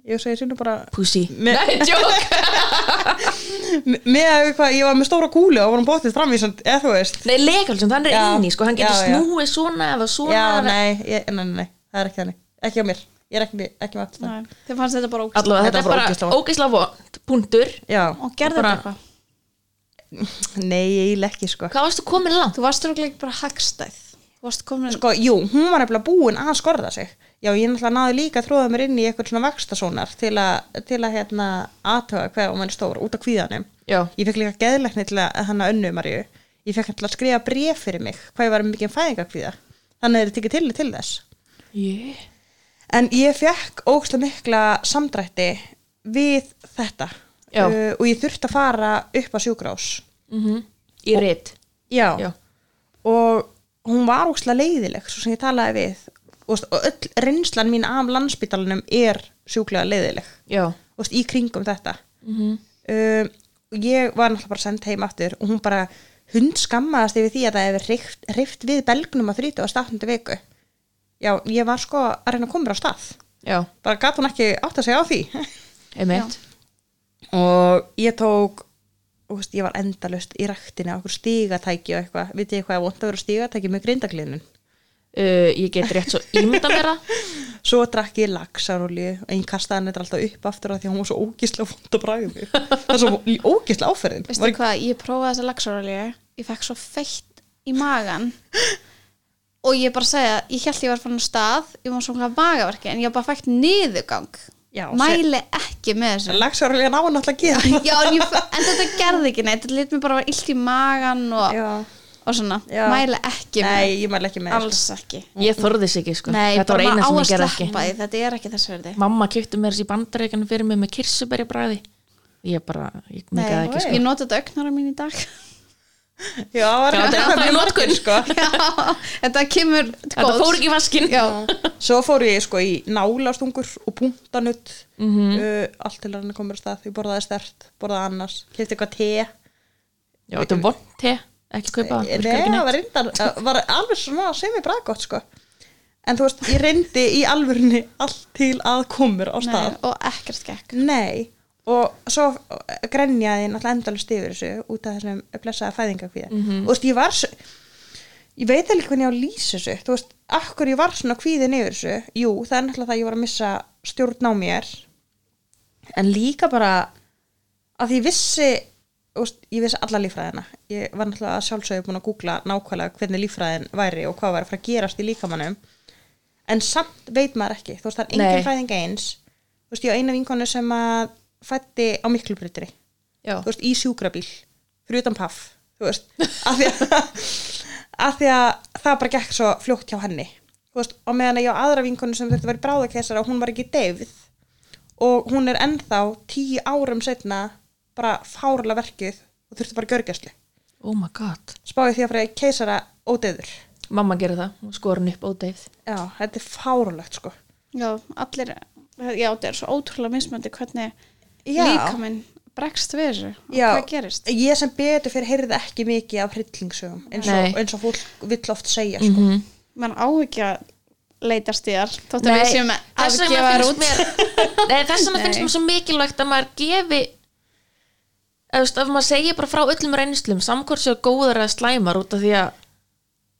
ég segi sínum bara Pussy Me- Nei, joke Me- með að við hvað, ég var með stóra kúlu og vorum bóttið framvísand, eða þú veist Nei, leghálsum, hann er Já, inni sko Hann getur já, já. snúið svona eða svona já, eða- nei, ég, nei, nei, nei, það er ekki þannig ekki á mér, ég er ekki, með- ekki með aftur Nei, þið fannst þetta bara ógst Allavega, Þetta þetta var er ógeðslega bara ógeðslega vond, punktur. já, og gerði Bara- þetta eitthvað nei, ég ekki sko Hvað varstu komin langt? þú varst rúglega bara hagstæð þú varst komin sko, jú, hún var nefnilega búin að skorða sig já, ég náttúrulega náði líka að tróða mér inn í eitthvað svona vakstasónar til að, til að hérna, aðtöga hvað og mann stóra út af kvíðanum Já. ég fekk líka geðlekni til að hann að önnu Marju ég fekk hann til að skrifa bref fyrir mig hvað ég var með mikið um fæðingakvíða þannig að þetta ekki til til þess Yeah. En ég fekk ógstlega mikla samdrætti við þetta Já. Uh, og ég þurfti að fara upp á sjúkrás. Mhm. Í rétt. Já. Já. Og hún var ógstlega leiðileg, svo sem ég talaði við. Og, veist, og öll reynslan mín af landsbytalanum er sjúklega leiðileg. Já. Mhm. Og veist, í kringum þetta. Mm -hmm. ég var náttúrulega bara sendt heim aftur og hún bara hundskammaðast yfir því að það hefur hrift, hrift við belgnum á 38. viku. Já, ég var sko að reyna að koma mér á stað Já. bara gat hún ekki átt að segja á því Einmitt. og ég tók og veist, ég var endalust í ræktinni á okkur stígatæki og eitthvað, vitið ég hvað er vont að vera á stígatæki með grindaklinun Uh, ég get rétt svo ímynda mér það. svo drakk ég laxarolju og einn kastaði hann þetta alltaf upp aftur af því að hún var svo ógislega vond að bræða mig það er svo ógislega áferðin veistu var, hvað, ég prófaði þessa laxarolíu ég fekk svo feitt í magan og ég bara segja ég held ég var farin á stað ég var svona magaverki en ég bara fætt niðurgang Já, mæli ekki með þessu laxarolja ná hann alltaf að gera Já, en, ég, en þetta gerði ekki neitt þetta lit mér bara var illt í magan og Já. og svona, Já. mæla ekki með Nei, sko. ég mæl ekki með alls ekki Ég þorði sig ekki sko Nei, Þetta var bara eina maður á sem að ég gerði ekki sleppa því, þetta er ekki þess verði Mamma kipti mér þessi bandarækjana fyrir mig með kirsuberja bræði Ég bara, ég Nei, mikaði ekki sko ég nota þetta augnarum mín í dag sko. Já, það var Já, þetta er það ennþá í mjög notkun. notkun, sko. Já, þetta kemur til Þetta góðs. fór ekki í vaskin Já, Svo fór ég sko í nálastungur og puntanutt uh, allt til hann komur að stað, ég borðaði stert borðaði annars, kefti eitthvað te Já, þetta er vond te, ekki kaupa það, virkar Nei, Ah, ekki það neitt. var reyndar, eh, var alveg svona sem ég braðgótt sko en þú veist, ég reyndi í alvörni allt til að komur á nei, stað og ekkert gekk Nei, og svo grenjaði ég náttúrulega endalist yfir þessu út af þessum blessaða fæðingakvíða og þú veist, ég var svo ég veit alveg hvernig ég á að lýsa þessu þú veist, akkur ég var svona kvíðin yfir þessu jú, það er náttúrulega það að ég var að missa stjórn á mér en líka bara að ég vissi þú veist, ég vissi alla líffræðina ég var náttúrulega að sjálfsögðu búin að googla nákvæmlega hvernig líffræðin væri og hvað var að fara að gerast í líkamannum en samt veit maður ekki þú veist, það er Nei. engin fræðing eins þú veist, ég á eina vinkonu sem að fætti á miklu breytri Já, þú veist, í sjúkrabíl fyrir utan paff, þú veist af því að, af því að það bara gekk svo fljótt hjá henni þú veist, og meðan að ég á aðra vinkonu sem þurfti að vera bráðakessara og hún var ekki deyfð og hún er ennþá tíu árum setna bara fárlega verkið og þurfti bara görgæslu Oh my god spáði því að fyrir keisara ódeyður Mamma gerði það, hún skor hann upp ódeyð já, þetta er fárlegt sko já allir Já, þetta er svo ótrúlega mismöndi hvernig Já. líkaminn bregst við þessu og Já. hvað gerist ég sem betur fyrir heyrði ekki mikið af hryllingsögum eins Nei. og, eins og fólk vill oft segja sko. mann á ekki að leitast í þar þótt að Nei, við séum þess að vegna gefa þær finnst út mér- Nei, þess vegna Nei. finnst mér svo mikilvægt að maður gefi eða, þú veist, ef maður segja bara frá öllum reynslum samkvæmt séu góðar eða slæmar út af því að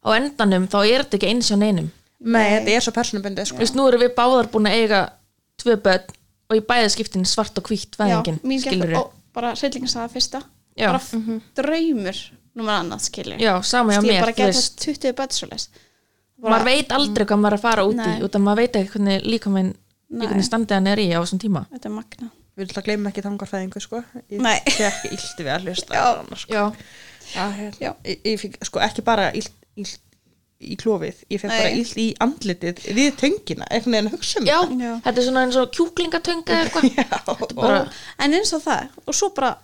á endanum þá er þetta ekki eins og neinum Nei, þetta er svo personabundið Þú sko. veist, nú erum við báðar búin að eiga tvö börn og í bæðaskiptin svart og hvítt væðingin, Já, mín skilur gekk og bara reyðlingin sagði fyrsta Já. bara mm draumur númer annað skilur Mhm. Já, sama hjá ég mér, bara þú geta veist 20 bætsjóles maður veit aldrei hvað maður er að fara út Nei. í út af maður veit ekki hvernig líka minn Nei. hvernig standið hann er í á þessum tíma þetta er magna Við ætlum að gleyma ekki þangarfæðingu sko Ég Nei. sé ekki illt við að hlusta Já. á hana, sko. Já, Að, hérna, Já. ég, ég fikk sko ekki bara illt, illt í klófið Ég fekk Nei. bara illt í andlitið við töngina einhvern veginn að hugsa um Já. Já. þetta er svona eins og kjúklingatönga eða eitthvað þetta bara- og, en eins og það, og svo bara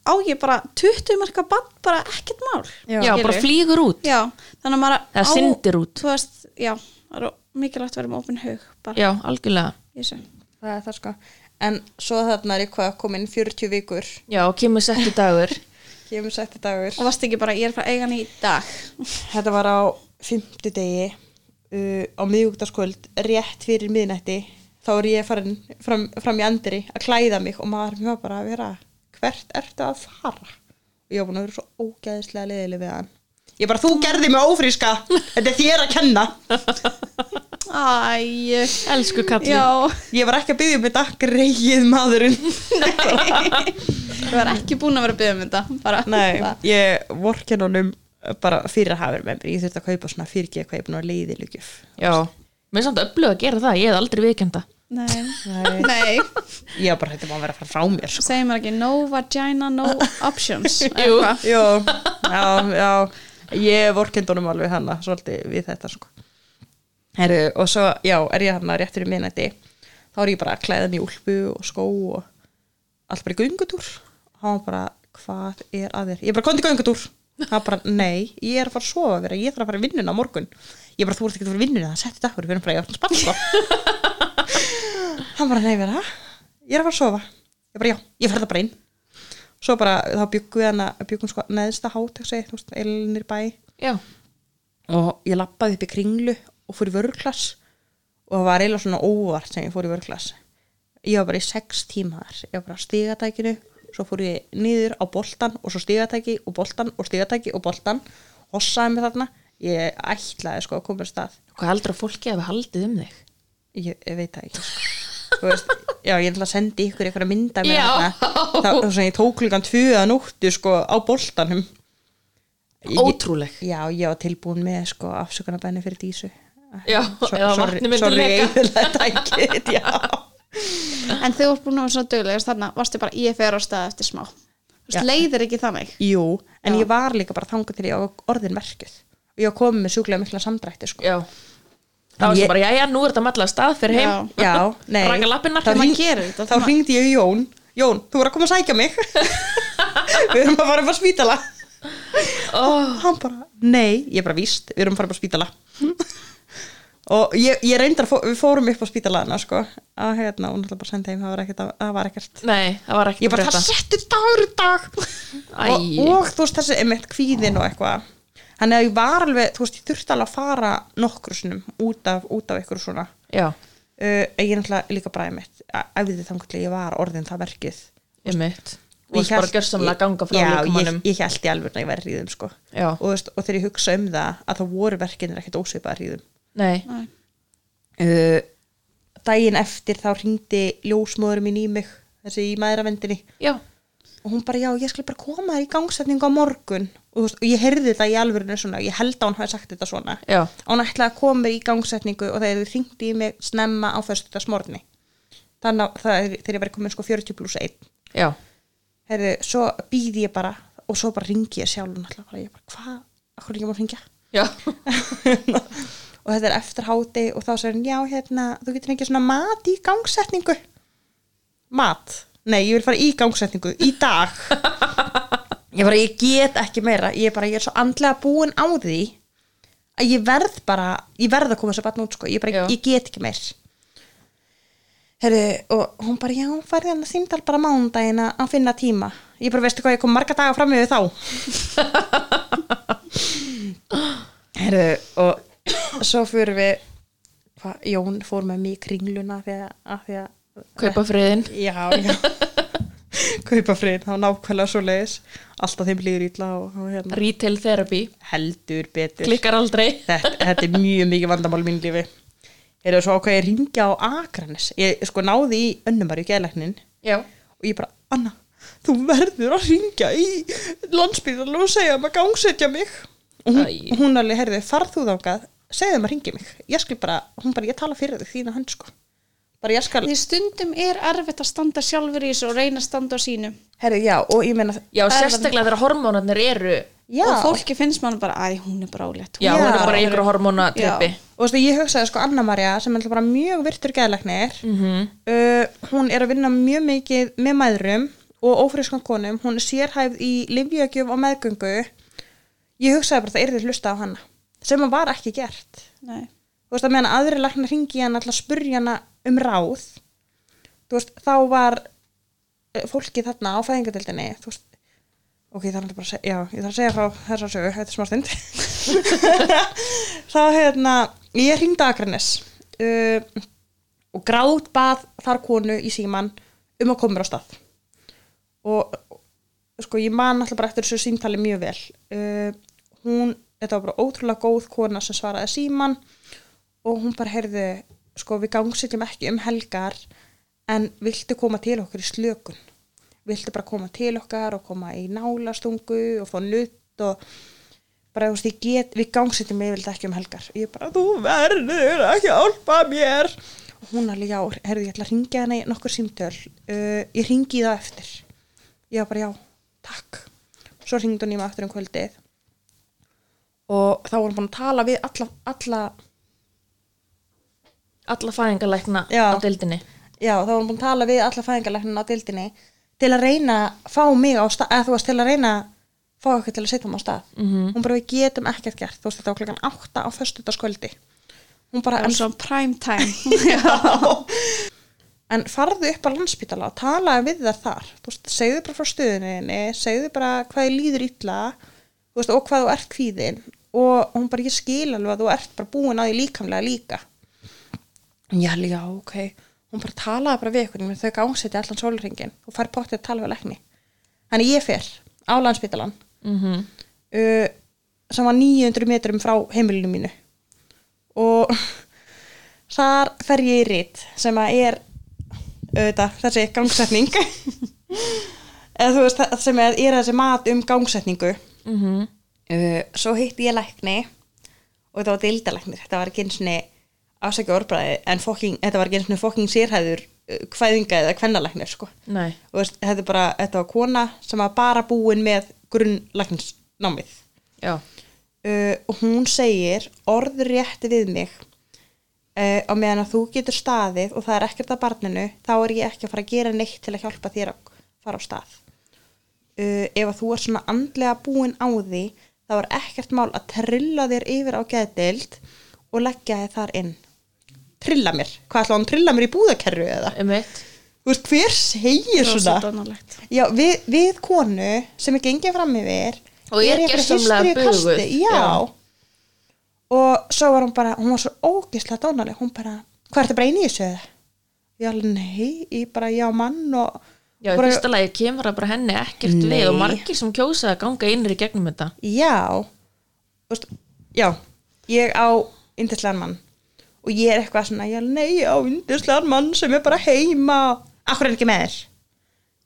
á ég bara 20 marka bann bara ekkert mál Já, Já, bara skilurðu. flýgur út já, þannig að maður Það syndir út. þú veist, já, það er mikilvægt að vera með opinn hug bara, Já, algjörlega í þessu Það er það sko En svo þarna er ég hvað komin 40 vikur Já, og kemur settu dagur Kemur setti dagur og varst ekki bara, ég er frá eigan í dag Þetta var á fimmtudegi uh, á miðugdaskvöld rétt fyrir miðnætti þá er ég farin fram, fram í andri að klæða mig og maður mjög bara að vera hvert ertu að fara og ég var búin að vera svo ógæðislega leiðileg við hann ég bara þú gerði mig ófríska þetta er þér að kenna æj, Elsku kallið já ég var ekki að byggja mig dag greið maðurinn ég var ekki búin að vera að byggja um þetta bara, Nei, það- ég vorken honum bara fyrir að hafa með mér ég þurfti að kaupa svona fyrir ekki eitthvað ég er búin að leiðilegjöf Já, mér er samt öflug að gera það, ég hef aldrei viðkenda nei, Nei. nei. ég var bara þetta má vera að fara frá mér sko. segir maður ekki no vagina, no options Jú. eitthvað. Jó, já, já Ég vorkend honum alveg hana svolítið við þetta sko Heru, og svo, já, er ég hana rétt fyrir minnætti þá er ég bara að klæða mig í úlpu og skó og allt bara í göngutúr og hann var bara, hvað er að þér? Ég bara, komði göngutúr hann bara, nei, ég er að fara að sofa vera ég þarf að fara í vinnuna á morgun ég bara, þú ert ekki að fara í vinnuna, það setti þetta fyrir við erum bara í orðin spann sko hann bara, nei, vera, ég er að fara að sofa ég bara, já, ég fer það bara inn svo bara þá byggum við hana byggum sko neðsta hátegsi, þú veist, elinir bæ Já, og ég lappaði upp í kringlu og fór í vörklass og það var eiginlega svona óvart sem ég fór í vörklass ég var bara í sex tíma þar ég var bara á stígatækinu, svo fór ég niður á boltan og svo stígatæki og boltan og stígatæki og boltan hossaði mig þarna, ég ætlaði sko að koma að stað hvað heldur að fólki hefur haldið um þig? ég, ég veit það ekki sko. Þú veist, já, ég ætla að sendi ykkur eitthvað mynda Já. það sem ég tók klukkan tvöða nóttu sko á boltanum Ég- Ótrúleg. já, ég var tilbúin með sko afsökunarbenni fyrir dísu Já, eða vatni myndi leka. eðilega tækið já. E en þegar þú ert búin að vera svona duglegast þarna varstu bara, ég fer á stað eftir smá Vist, leiðir ekki þannig Jú, en ég var líka bara þangað til ég á orðin verkið og ég kom með sjúklega mikla samdrætti sko. já þá var En ég... ég- bara, já, já, nú er þetta malla stað fyrir heim Já. Já, nei Raka lappirnar. Þá Maður hring- gerir þetta, Þá það- hringdi ég í Jón Jón, þú voru að koma að sækja mig Við erum að fara upp á spítala oh, Hann bara, nei, ég er bara víst Við erum að fara upp á spítala Og ég, ég reyndar, að fó, við fórum upp á spítalaðina sko, að hérna, hún ætla bara að senda heim það var ekkert, að- það var ekkert nei, það var ekki Ég bara, það settur dagur í dag Æi. og, og þú veist þessi einmitt kvíðin og eitthvað Þannig að ég var alveg, þú veist, ég þurfti alveg að fara nokkru sinnum út af, út af ykkur svona já, uh, ég er náttúrulega líka bara einmitt æfði þannig til ég var orðin það verkið ég mitt Og og ég bara hélt- gjörsamlega ég- ganga frá já, líkamannum ég, ég held í alveg að ég væri ríðum sko. Já. og, þú veist, og þegar ég hugsa um það að það voru verkinir ekkert ósvipað ríðum nei, Nei. uh, daginn eftir þá ringdi ljósmóður mín í mig þessi í maðuravendinni já, og hún bara, já, ég skal bara koma þér í gangsetningu á morgun og, þú veist, og ég heyrði þetta í alvörinu svona ég held að hún hafi sagt þetta svona Já. og hún ætlaði að koma mér í gangsetningu og þegar þið hringdi í mig snemma á föstudagsmorgni þannig að það er, þegar ég verið komin sko 40 pluss 1 já, Herðu, svo býði ég bara og svo bara ringi ég sjálf náttúrulega bara, ég bara, hvað, hvað er ég maður að ringja já og þetta er eftir háti og þá segir hann, já, hérna, þú getur fengið svona mat í gangsetningu mat, nei, ég vil fara í gangsetningu í dag ég bara, ég get ekki meira ég bara, ég er svo andlega búin á því að ég verð bara ég verð að koma þessu batn út, sko, ég bara, Já. ég get ekki meir Herru, og hún bara, já, farið hann að símdal bara mánudagina að finna tíma. Ég bara, veistu hvað, ég kom marga daga fram yfir þá. Herru, og svo fyrir við hva, Jón fór með mig í kringluna af því að, af því að kaupa friðin já, já kaupa frið, þá nákvæmlega svo leiðis alltaf þeim líður ítla og, og hérna retail therapy, heldur betur klikkar aldrei þetta, þetta er mjög mikið vandamál í mínu lífi er það svo ákveð ég ringja á Akranes ég sko náði í önnumari geðleiknin já, og ég bara, Anna, þú verður að ringja í landsbyrðan og segja um að gangsetja mig og hún, Æi. hún alveg, heyrði, farð þú þangað segðu um að ringja mig, ég skal bara hún bara, ég tala fyrir þig þína hönd sko bara ég skal, Því stundum er erfitt að standa sjálfur í þessu og reyna að standa á sínu herri, já, og ég meina já, Það er sérstaklega þegar hormónarnir eru já, og fólki finnst mann bara, æ, hún er bara ólétt já, Já. hún er bara í ykkur hormónatrippi Já. og þú veist að ég hugsaði sko Anna Maria sem er bara mjög virtur geðlæknir -hmm. Mhm. uh, hún er að vinna mjög mikið með mæðrum og ófrískan konum hún er sérhæfð í livjögjöf og meðgöngu ég hugsaði bara að það er þið hlusta á hana sem að var ekki gert Nei. þú veist að meðan aðri læknar hringi í hana alltaf spurja hana um ráð þú veist, þá var eh, fólkið þarna á fæðingadeildinni þú veist, ok, það er náttúrulega bara að segja já, ég þarf að segja frá þessar sögu, þetta er smá stund þá hérna ég hringdi á Akranes uh, og grátt bað þar konu í síman um að koma mér á stað og sko ég man alltaf bara eftir þessu símtali mjög vel uh, hún, þetta var bara ótrúlega góð kona sem svaraði síman og hún bara heyrði sko við gangsetjum ekki um helgar en viltu koma til okkur í slökun viltu bara koma til okkar og koma í nálastungu og fá nutt og bara þú veist ég get, við gangsetjum yfirlega ekki um helgar og ég bara þú verður að hjálpa mér og hún alveg já, heyrðu ég ætla að ringja hana í nokkur símtöl uh, ég ringi það eftir ég var bara já, takk svo ringdi hún í mig aftur um kvöldið og þá vorum búin að tala við alla, alla alla fæðingarleikna Já. á deildinni já, þá vorum búin að tala við alla fæðingarlæknina á dildinni til að reyna að fá mig á stað, eða þú veist, til að reyna að fá okkur til að setja mig á stað -hmm. hún bara, við getum ekkert gert, þú veist, þetta var klokkan 8 á föstudagskvöldi hún bara, Það en er svona prime time en farðu upp á landspítala og talaðu við þar þar þú veist, segðu bara frá stöðuninni segðu bara hvað þið líður illa þú veist, og hvað þú ert kvíðin og hún bara, ég skil alveg að þú ert bara búin á því líkamlega líka já, já, ok hún bara talaði bara við ykkur menn þau gangsetti allan sólringin og fær pottið að tala við lækni þannig ég fer á landspítalan mhm, uh, sem var 900 metrum frá heimilinu mínu og þar fer ég í rít sem að er auðvitað, þessi gangsetning eða þú veist það sem er, er þessi mat um gangsetningu mhm uh, svo hitti ég lækni og þetta var dildalæknir þetta var ekki eins og afsækja orðbræði en fokking, þetta var ekki eins og fokking sérhæður uh, kvæðinga eða kvennalæknir sko. Nei, og veist, þetta er bara, þetta var kona sem var bara búin með grunnlæknisnámið já, uh, og hún segir orðrétt við mig uh, á meðan að þú getur staðið og það er ekkert að barninu þá er ég ekki að fara að gera neitt til að hjálpa þér að fara á stað uh, ef að þú ert svona andlega búin á því þá er ekkert mál að trilla þér yfir á geðdeild og leggja þér þar inn trilla mér, hvað ætla hún trilla mér í búðakerru eða, um eitt þú veist, hver segir svona dónalegt Já, við, við konu sem er gengið fram yfir Og er í einhverju gersamlega hysteríu buguð, kasti, já. já. Og svo var hún bara, hún var svo ógislega dónaleg, hún bara, hvað ertu bara einu í þessu? eða?" Ég alveg, nei, ég bara, já mann og Já, í bara, fyrsta lagi kemur það bara henni ekkert Nei. við og margir sem kjósa að ganga innri gegnum þetta Já, Þú veist, já, ég á yndislegan mann og ég er eitthvað svona, já, nei, ég á yndislegan mann sem er bara heima, akkur er hann ekki með þér?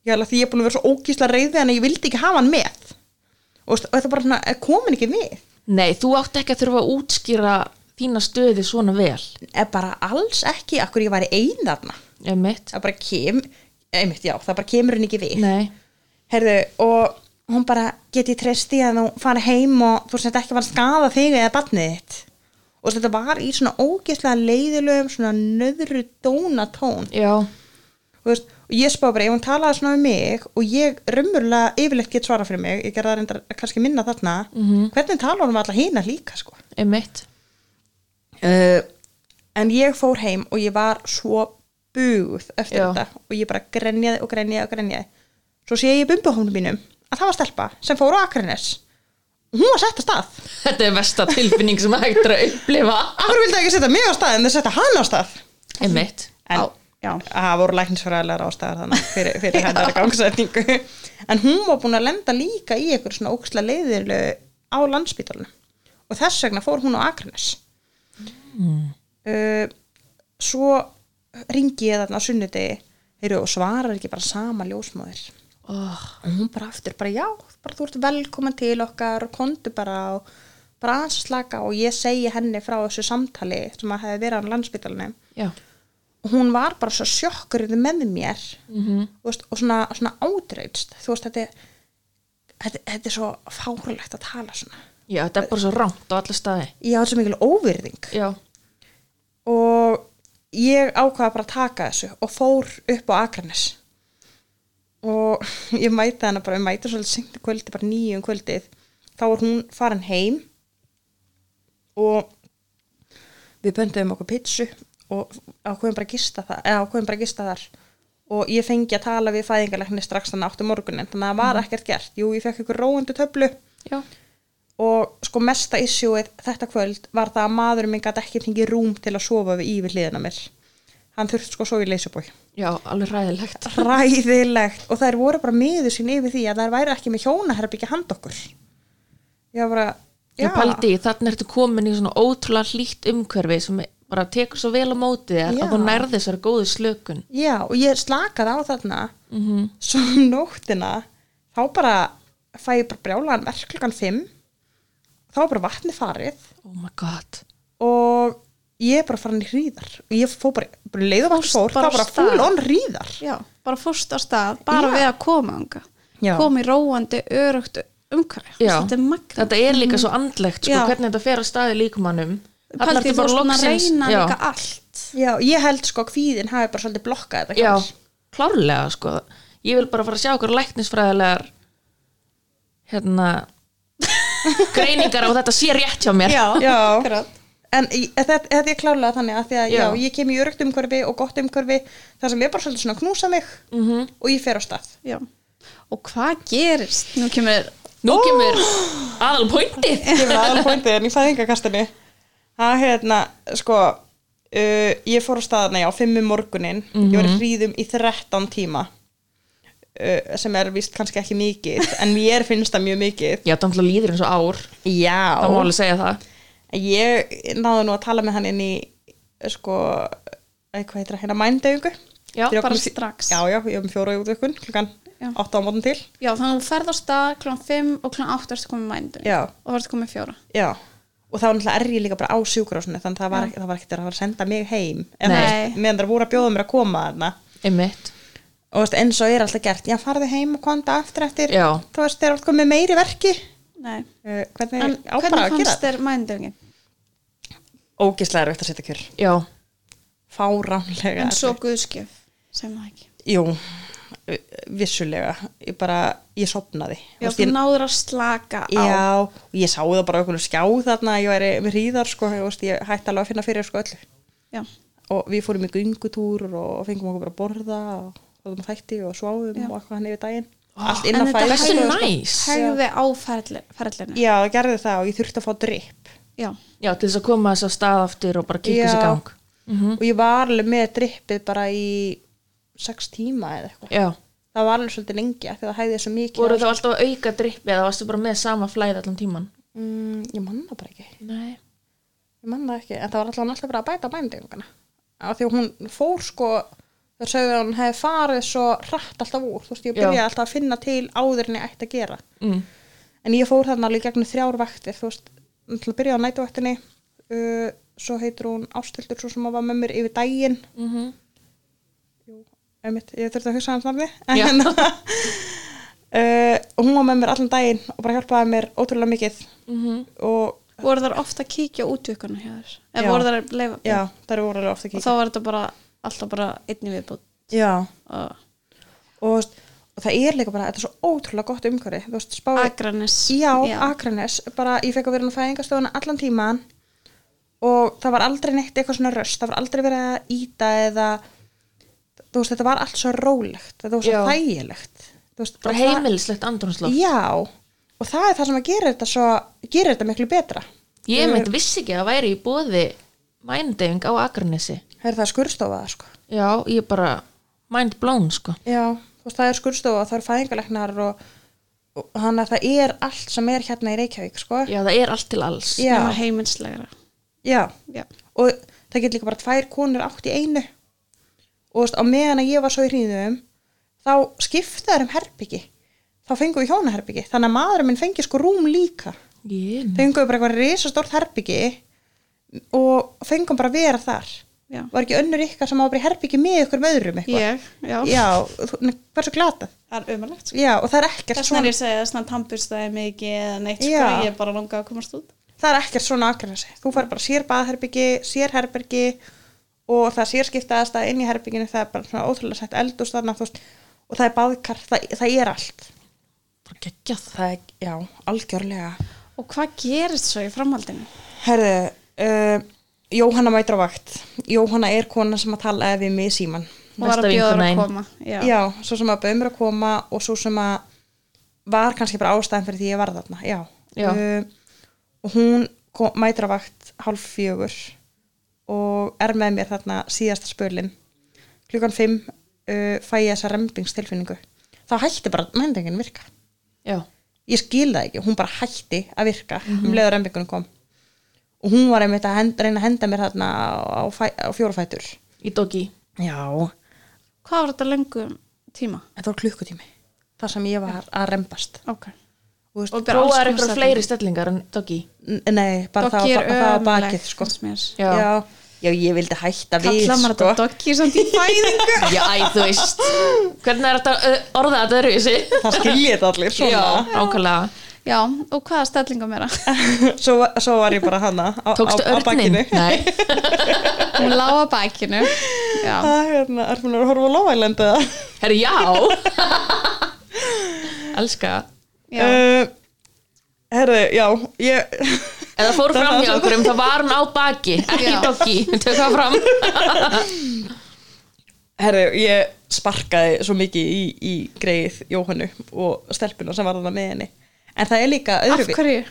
Já, alveg, því ég er búin að vera svo ógísla reyðið en ég vildi ekki hafa hann með og, veist, og þetta bara svona, er komin ekki við Nei, þú átt ekki að þurfa að útskýra þína stöði svona vel er bara alls ekki akkur ég væri ein þarna um eitt það bara kem, einmitt, já, það bara kemur hann ekki við Nei, Herðu, og hún bara geti treyst því að þú fara heim og þú sett ekki að fara að skafa þig eða barnið þitt. Og þetta var í svona ógeðslega leiðilegum, svona nöðru dónatón. já, Þú veist, og ég spá bara, ef hún talaði svona um mig og ég raunverulega yfirleitt get svara fyrir mig, ég gerði það reyndar kannski minna þarna, -hmm. hvernig tala hún um alla hina líka, sko. um eitt Uh, en ég fór heim og ég var svo buguð eftir Já. þetta og ég bara grenjaði og grenjaði og grenjaði svo sé ég í bumbuhónum mínum að það var stelpa sem fór á Akranes og hún var sett að stað Þetta er versta tilfinning sem hægt er að upplifa af hverju vildi ekki setja mig á stað en þau setja hann á stað um eitt en Á, já. það voru læknisfræðilegar ástæðar þannig fyrir, fyrir hennar gangsetningu en hún var búin að lenda líka í einhver svona óksla leiðilegu á landsbítalunum og þess vegna fór hún á Akranes mm. svo ringi ég þarna á sunnudegi heyrðu, og svarar ekki bara sama ljósmóðir oh, og hún bara aftur, bara já, bara þú ert velkomin til okkar og kondu bara og bara aðeins að slaka á." og ég segi henni frá þessu samtali sem að hefði verið á landsbítalunum Já, og hún var bara svo sjokkurinn með mér þú veist, og svona, svona átreitst þú veist, þetta er þetta, þetta er svo fárlegt að tala svona já, þetta er bara svo rámt á alla staði ég átt svo mikil óvirðing Já, og ég ákvaða bara að taka þessu og fór upp á Akranes og ég mæti hana bara, ég mæti svolítið sent í kvöldi, bara nýju um kvöldið þá var hún farin heim og við böndum okkur pitsu og ákveðum bara að gista það eða ákveðum bara að gista þar og ég fengi að tala við fæðingarleikni strax þannig áttu morgunin þannig að það var ekkert gert jú, ég fekk ykkur róandi töflu já, og sko mesta issueið þetta kvöld var það að maðurinn minn gæti ekki fengið rúm til að sofa við í við hliðina mér hann þurfti sko að sofa í leysubói já, alveg ræðilegt ræðilegt og þær voru bara miður sín yfir því að þær væri ekki með hjónaherbyggja hand okkur ég var bara Já, paldi, þannig ertu komin í svona ótrúlega hlýtt umhverfi sem bara tekur svo vel á móti þér Já. að þú nærði þessar góðu slökun já og ég slakaði á þarna svo um nóttina þá bara fæ ég bara brjálaðan verk klukkan 5 þá var bara vatni farið Oh my god og ég er bara farin í hríðar og ég fór bara, bara leiðum Fórst hans fór það bara var bara af stað. full on hríðar já, bara fórst á stað bara Já. við að koma anga Já. koma í róandi, örugt umhverf Já. þetta er magna Þetta er líka svo andlegt, sko, Já. hvernig þetta fer að staði líkumannum Þarna Paldi, ertu þú bara ert búin að loksins- reyna já, líka allt já, ég held sko að kvíðin hafi bara svolítið blokkað þetta hjá Já, mér. klárlega, sko Ég vil bara fara að sjá okkur læknisfræðilegar hérna greiningar á þetta sé rétt hjá mér já. akkurat. en í- þetta, þetta er klárlega þannig að því að já. Já. ég kem í örugt umhverfi og gott umhverfi það sem er bara svolítið svona að knúsa mig Mhm. -hmm. og ég fer á stað Já. og hvað gerist nú kemur Nú kemur aðal pointið ég var aðal pointið en í fæðingakastinu það hérna, sko uh, ég fór á staðana, já, fimm um morgunin ég Mhm. var í hríðum í 13 tíma uh, sem er vist kannski ekki mikið, en mér finnst það mjög mikið Já, þannig líður eins og ár, já, það má alveg segja það ég náði nú að tala með hann inn í sko, æ, hvað heitir það, hérna mændauðingu Já, Þegar bara kom sí- strax. já, já, ég hef um fjóra útvökkun, klukkan Já. 8 á mótin til já, þannig að þú ferð á stað kl. 5 og kl. 8 ertu komið mændu Já. og þá ertu komið 4 já, og þá náttúrulega er ég líka bara á sjúkrásinu þannig að það var, það var ekkert að fara að senda mig heim en Nei. þú veist, meðan það voru að bjóða mér að koma þarna einmitt og veist, eins og er alltaf gert, já farðu heim og konda aftur eftir, Já. þú veist, þeir eru komið meiri verki Nei. uh, hvernig En á bara hvernig að gera fannst þetta? þér mændöfingin? Ógislega er veitt að setja kjör já, fáránlega En svo erfitt. guðskjöf, sem það ekki. Jú, uh, vissulega ég bara, ég sopnaði Já, Veist, þú ég, náður að slaka á. já, og ég sá það bara okkur skjá þarna, ég væri með hríðar sko, ég, veist, ég hætti alveg að finna fyrir sko öllu Já. og við fórum í göngutúr og fengum okkur bara að borða og fórum þætti og sváum og eitthvað hann yfir daginn allt En innan þetta fæðis hversu Hægðu- næs Hægði á ferðlinu. já, það gerði það og ég þurfti að fá drip Já. já, til þess að koma þess að stað aftur og bara kikka Já. sér gang Mhm. og ég var alveg með dripið bara í sex tíma eða eitthvað já, það var alveg svolítið lengi af því að það hæði svo mikið voru af- þá alltaf að auka drippi eða varstu bara með sama flæð allan tíman mm, ég manna bara ekki nei, ég manna ekki, en það var alltaf alltaf bara að bæta bændinguna af því að hún fór sko þau sögðu að hún hefði farið svo rætt alltaf úr, þú veist, Já. ég byrjaði alltaf að finna til áður en ég ætti að gera mm. en ég fór þarna alveg í gegnum þrjár vaktir þú veist, til að byrja á nætuvaktinni uh, svo heitir hún Ástildur svo sem hún var með mér yfir daginn Mm Einmitt, ég þurfti að hugsa hans nafni Já. en uh, hún var með mér allan daginn og bara hjálpaði mér ótrúlega mikið Mhm. og Voru þar ofta að kíkja út ykkurna hjá þér? Já. Eða voru þar að leifa? já, það eru ótrúlega Og ofta ekki þá var þetta bara, alltaf bara einni viðbútt. já, Og og, þú veist, og það er líka bara, þetta er svo ótrúlega gott umhverfi þú veist, spáði Akranes. Já, Akranes, bara ég fekk að vera nú fæðingastöðuna allan tíman og það var aldrei neitt eitthvað svona röst, það var aldrei verið að íta eða, þú veist, þetta var allt svo rólegt, þetta var svo Já. þægilegt þú veist, bara og það- heimilislegt andrumsloft Já, og það er það sem að gera þetta svo, gera þetta miklu betra ég meint vissi ekki að það væri í bóði mændeyfing á Akranesi Það er það skurstofaða, sko já, ég bara mind blown sko Já, þú veist, það er skurstofa, það eru fæðingaleknar og, og þannig að það er allt sem er hérna í Reykjavík, sko já, það er allt til alls Já. Nema heiminslegra. Já. Já. og það getur líka bara tvær konur átt í einu og þú veist, á meðan að ég var svo í hríðum þá skipta þær um herbyggi þá fengum við hjónaherbyggi þannig að maðurinn minn fengi sko rúm líka ég, fengum við bara eitthvað risastórt herbyggi og fengum bara að vera þar Já. var ekki önnur ykkar sem var bara í herbyggi með ykkur með öðrum eitthvað Ég, já. já, þú- nei, hversu glatað Það er sko. umrægt. já, og það er ekkert Þess vegna er ég að segja að svona tannburstaði mikið eða neitt sko, Já. ég er bara langað að komast út. það er ekkert svona akkurat þú fær bara sér baðherbyggi, sér herbergi og það sér skiptaðast að inn í herbygginu það er bara svona ótrúlega sett eldús þarna þú veist, og það er baðkar, það, það er allt bara geggjað það er, já, algjörlega Og hvað gerist svo í framhaldinu? herðu, uh, Jóhanna mætir á vakt Jóhanna er kona sem að talaði við mig í síman Hún var Besta að bjóða þér vinkonan. að koma. Já. já. svo sem að bauðum er að koma og svo sem að var kannski bara ástæðan fyrir því ég var þarna já, Já. Uh, og hún kom, mætir á vakt hálf fjögur og er með mér þarna síðasta spölin klukkan fimm uh, fæ ég þessa rembingstilfinningu þá hætti bara mændingin virka já, ég skil það ekki, hún bara hætti að virka um leiður rembingunum kom og hún var einmitt að henda, reyna að henda mér þarna á, fæ, á fjórafætur í dogi já, Hvað var þetta lengum tíma? þetta var klukkutími þar sem ég var að rembast Ok. og, veist, Og bara prófaður alls konar eitthvað stellingar. fleiri stellingar en dogi N- Nei, bara það, Doggi það, er það á ömurlegt, bakið sko. finnst mér. Já. já. Já, ég vildi hætta við Kalla maður sko. þetta doggi samt í fæðingu? já, æ, þú veist hvernig er þetta ö, orðað þetta eru þessi Það skiljið þetta allir já, svona nákvæmlega Já, og hvaða stellingum er það? svo, va- svo var ég bara hana á, tókstu á, á örnin? bakinu nei, Hún lá að bakinu. Já. Það er hérna, er hún að horfa á lofælend eða herri, já elska Já. uh, Herðu, já ég, eða fór Það fram var hjá svo- okkur um það var hún á baki ekki Já. dogi, tök það fram Herðu, ég sparkaði svo mikið í, í greið Jóhannu og stelpuna sem var þarna með henni En það er líka Af öðru hverju?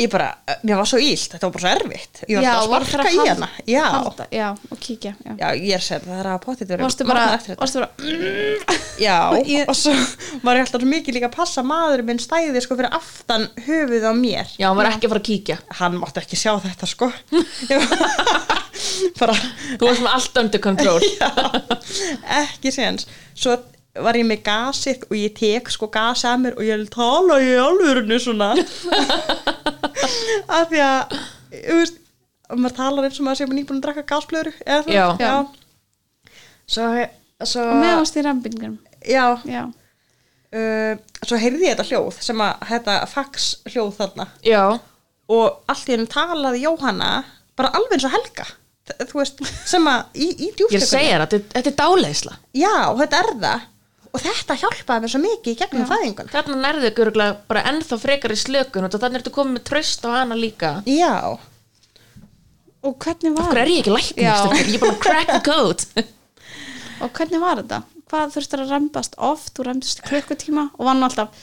Ég bara, mér var svo ílt, þetta var bara svo erfitt Ég var Já, alltaf að var sparka fyrir í að hana Já, Halda, já, og kíkja. Já. já ég er sér, það er að potið Varstu bara, varstu bara, Já, Ég- og svo var ég alltaf svo mikið líka að passa maður minn stæði sko fyrir aftan höfuð á mér. já, hún var ekki að fara að kíkja Hann mátti ekki sjá þetta sko. Ég var- bara þú varst með allt under control ekki séns. Svo var ég með gasið og ég tek sko gasið að mér og ég tala í alvörinu svona. Af því að, þú veist, maður talar eins og maður sé nýbúin að drakka gasblöðru eða það. Já. Já. Svo svo, og með ást í rambingum já, já, uh, svo heyrði ég þetta hljóð sem að þetta fax hljóð þarna já, og allt í hennu talaði Jóhanna bara alveg eins og Helga Þ- þú veist, sem að í, í djúpt ég er að segja þér að þetta, þetta er dáleisla já, þetta er það og þetta hjálpaði mér svo mikið í gegnum fæðingun þarna nærðu ekki örgulega bara ennþá frekar í slökun og þannig ertu komið með tröst á hana líka já, og hvernig var hver er ég ekki Já. læknir, ég er bara að crack the code og hvernig var þetta? Hvað þurftur að rembast oft? Þú rembast í klukkutíma og var nú alltaf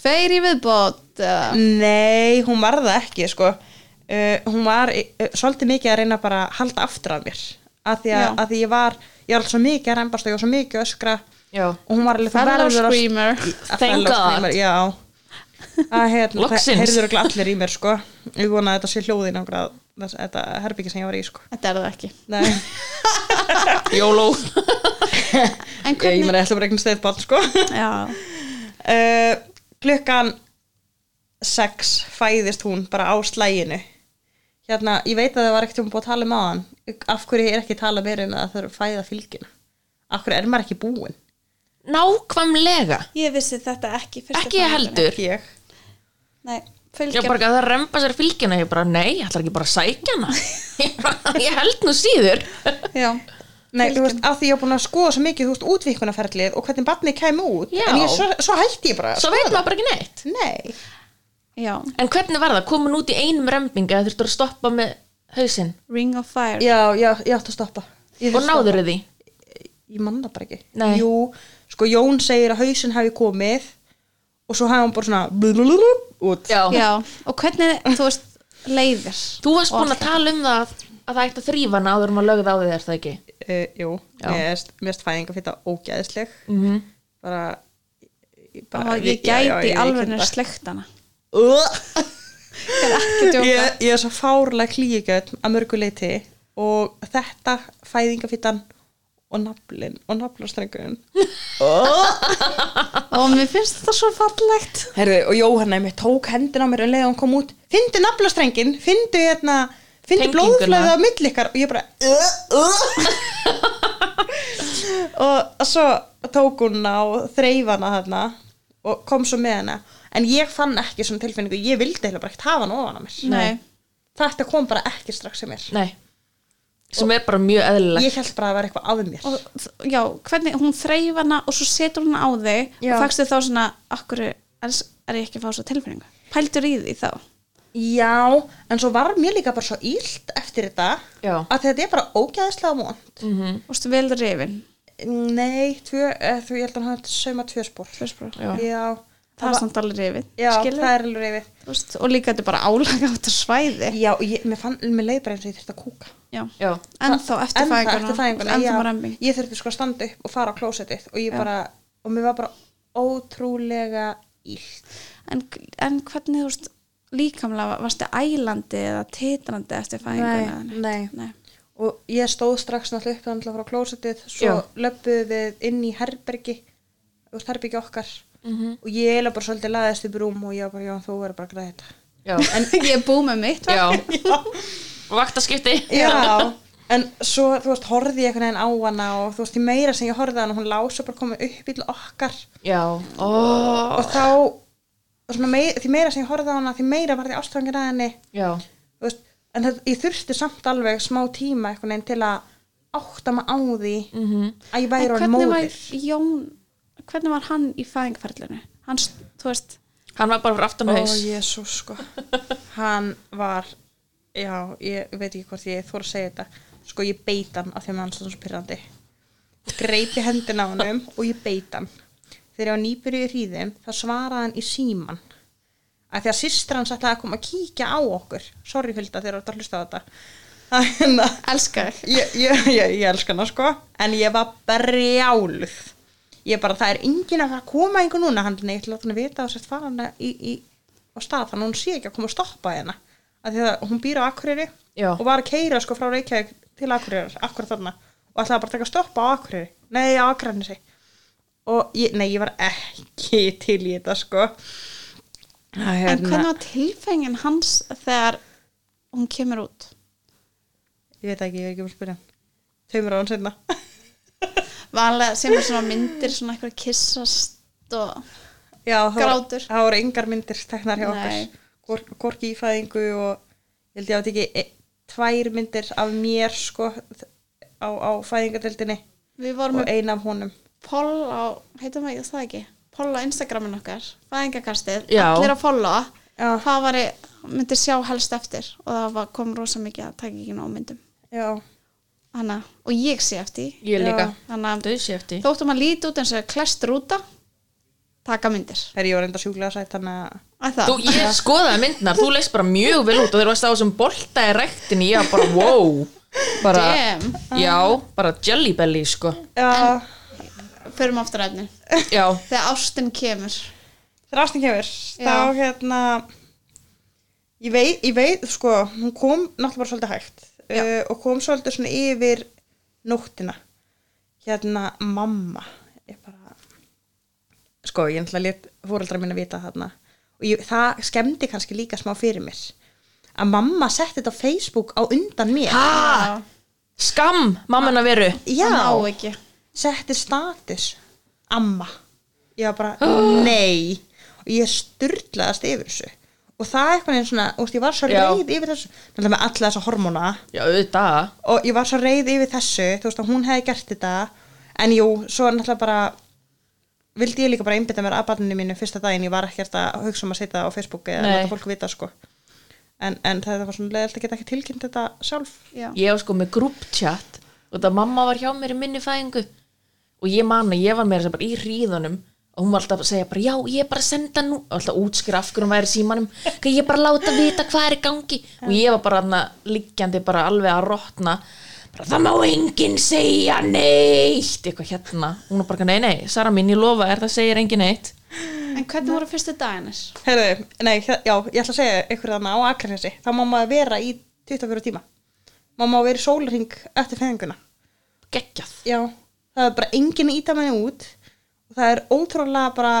tveir í viðbót uh, Nei, hún var það ekki sko. uh, hún var uh, svolítið mikið að reyna bara að halda aftur af mér af því að, Já. að því ég var ég var alls svo mikið að rembast og ég var svo mikið að öskra Já. og hún var alveg þú fellow verður sko að- screamer að Thank fellow God. screamer, Já að hérna, Loksins. það heyrður ekki allir í mér sko. ég vona að þetta sé hljóðin okkur að þess- þetta herbyggi sem ég var í sko. Þetta er það ekki Nei, Jóló En ég, ég hvernig, meina ég ætla bara eignast þeir barn sko. já, uh, klukkan 6 fæðist hún bara á slæginu hérna, ég veit að það var ekkert um búið að tala um aðan af hverju er ekki að tala meira um að það þurfa að fæða fylgina af hverju er maður ekki búin nákvæmlega, Ég vissi þetta ekki fyrstu ekki ég fæðingunni. heldur ekki ég Nei, Já, fylgjum bara ekki að það remba sér fylgina, ég bara, nei, ég ætla ekki bara að sækja hana. Ég bara, ég held nú síður. Já, Nei, þú Fylgin. veist, af því ég var búin að skoða svo mikið, þú veist, útvíkunaferlið og hvernig barnið kæmi út Já. en ég, svo, svo hætti ég bara að Svo veit maður bara ekki neitt. skoða. Nei, já, En hvernig var það? Komin út í einum rembinga eða þurftur að stoppa með hausinn? ring of fire já, já, ég átti að stoppa Ég Og þurfti að- náður því? ég man það bara ekki Nei. Jú, sko Jón segir að hausinn hefði komið og svo hefði hann bara svona blululul, út já, og hvernig, þú veist, leiðir Þú varst Og búin að allt tala um það að það ætti að þrýfa hana áður um að lögða á því þér, það ekki? uh, Jú, Já. mér erst- mér erst fæðinga fyrir þetta ógæðisleg Mm -hmm. bara, ég, það. Og ég já, já, gæti ég- ég alveg get nýr slektana það. Ekki Ugh. djóka ég, ég er svo fárlega klígjörn að mörgu leiti og þetta fæðingafittan og naflin og naflastrengurinn Og mér finnst þetta svo fallegt Herðu, og Jóhanna einmitt tók hendina á mér um leið og hún kom út, fyndu naflastrengin fyndu hérna, fyndu Tenginguna. blóðflæði á milli ykkar og ég bara uh, uh. og svo tók hún á þreifana þarna og kom svo með hana en ég fann ekki svona tilfinningu ég vildi heila bara ekkert hafa hana ofan á mér Nei, þetta kom bara ekki strax sem mér Nei. Sem er bara mjög eðlilegt. ég held bara að það var eitthvað að mér og, þ- já, hvernig, hún þreif hana og svo setur hún á þig Já. og fækstu þá svona, akkur er, er ég ekki að fá svo tilfinningu pældur í því þá já, en svo var mér líka bara svo ílt eftir þetta Já. að þetta er bara ógæðislega vond og stu vel rifin Nei, tvö, eh, þú, ég held að hann hafði sauma tvö spór. Tvö spor. Já. Já, já, það er samt alveg rifin já skilur, það er alveg reyfið. þú veist, og líka þetta er bara álaga á þetta svæði Já, og ég, mér, fann, mér leið bara eins og ég þurfti að kúka. já. Já. ennþá eftir Ennþá fæðinguna eftir fæðinguna, ennþá með já. rembing Ég þurfti sko að standa upp og fara á klósettið og ég Já. bara, og mér var bara ótrúlega ílt. en, en hvernig þú veist líkamlega varstu ælandi eða titrandi eftir fæðinguna Nei, eða neitt? nei. Og ég stóð strax náttúrulega upp þannig að fara á klósettið, svo Já. löppuðu við inn í herbergi, þú veist, herbergi okkar. Og ég eila bara svolítið laðist upp í rúm og ég var bara, já, þú verður bara að græða þetta. Já. en ég er búið með mitt Já. verk. Vaktaskipti. Já, en svo, þú veist, horfði ég einhvern veginn á hana og þú veist, því meira sem ég horfði á hana, hún lása bara komið upp í til okkar Já. Ó. og þá, og svona, mei, því meira sem ég horfði á hana, því meira var því ástofangir að henni, Já. þú veist, en það, ég þurfti samt alveg smá tíma einhvern veginn til að átta mig á því að ég En væri orðin hvernig móðir. var Jón hvernig var hann í fæðingferðlinu hann, st- þú veist, Hann var bara fyrir aftan Ó, haus. Jésús, sko. Hann var, já, ég veit ekki hvort ég þóra að segja þetta. Sko, ég beit hann af því að hann var svo pyrrandi. Greipi hendina á hann og ég beit hann. Þegar ég var nýbyrju í hríðum, þá svaraði hann í síman. Af því að systra hans ætlaði að koma að kíkja á okkur. Sorry, Hulda, þegar þú ert að hlusta á þetta. Þannig að hérna, elska þig ég, ég, ég, ég elska hana sko en ég var brjáluð ég bara, það er enginn að fara að koma einhver núna, hann er eitthvað að vita og sett fara hana í, í, á stað þannig að hún sé ekki að koma að stoppa hérna að því að hún býr á Akureyri Já. og var að keira sko frá Reykjavík til Akureyri akkur þarna og ætlaði bara að taka að stoppa á Akureyri nei, á Akureyri og ég, nei, ég var ekki til í þetta sko Æ, en hérna, hvernig var tilfengin hans þegar hún kemur út ég veit ekki, ég er ekki búin að spyrja hann þau mér á hann seinna vanlega sem er svona myndir svona eitthvað kissast og Já, það Grátur. voru- það voru engar myndir teknar hjá Nei. okkur Hvor- Hvorki í fæðingu og ég held ég að ekki e, tvær myndir af mér sko á, á fæðingadeldinni við vorum og með eina af honum poll á, heitum við það ekki poll á Instagramin okkar, fæðingakastið Já. allir að polla Já. það var ég, myndi sjá helst eftir og það var, kom rosa mikið að taka ekki nóg myndum Já, Hanna, og ég sé eftir því. Ég Já. líka þannig að Dauðsi eftir þóttum að líti út eins og klest rúta taka myndir þegar ég var enda sjúklega sætt þannig að að það, Þú, ég skoðaði myndnar, þú leist bara mjög vel út og þeir varst á þessum bolta í rektinni, ég var bara, wow, bara, Damn. já, bara jelly belly, sko, Já, förum aftur að efni já, þegar ástin kemur þegar ástin kemur þá Já. hérna ég veit, ég veit sko, hún kom náttúrulega bara svolítið hægt uh, og kom svolítið svona yfir nóttina hérna mamma ég bara sko ég ætla að let fóraldra minna vita þarna og ég, það skemmdi kannski líka smá fyrir mér að mamma setti þetta á Facebook á undan mér ha? ah, skam, mamman að veru, það ná já, ekki setti status amma ég var bara nei og ég styrlaðast yfir þessu og það er eitthvað einn svona, úst, ég var svo Já. reið yfir þessu náttúrulega með alla þessa hormóna já, auðvitað, og ég var svo reið yfir þessu þú veist að hún hefði gert þetta en jú, svo náttúrulega bara vildi ég líka bara einbytta mér að barninu mínu fyrsta daginn, ég var ekkert að hugsa um að setja það á Facebook eða Nei. láta fólk vita sko en, en þetta var svona leiðilt að geta ekki tilkynnt þetta sjálf já. ég var sko með group chat og það mamma var hjá mér í minni fæðingu og ég man að ég var meira sem bara í hríðunum og hún var alltaf að segja bara, já, ég er bara að senda nú og alltaf útskýra af hverju hún væri í símanum "Hvað ég er bara að láta vita hvað er í gangi og ég var bara þarna liggjandi bara alveg að rotna bara, það má enginn segja neitt eitthvað hérna, hún var bara, nei, nei, Sara mín, ég lofa er það segir enginn neitt en hvernig voru fyrstu daginnir? Herðu, nei, hér- já, ég ætla að segja ykkur þarna á Akranesi, þá má maður vera í 24 tíma. Má maður vera í sólring eftir fæðinguna. geggjað, Já, það er bara enginn að íta manni út og það er ótrúlega bara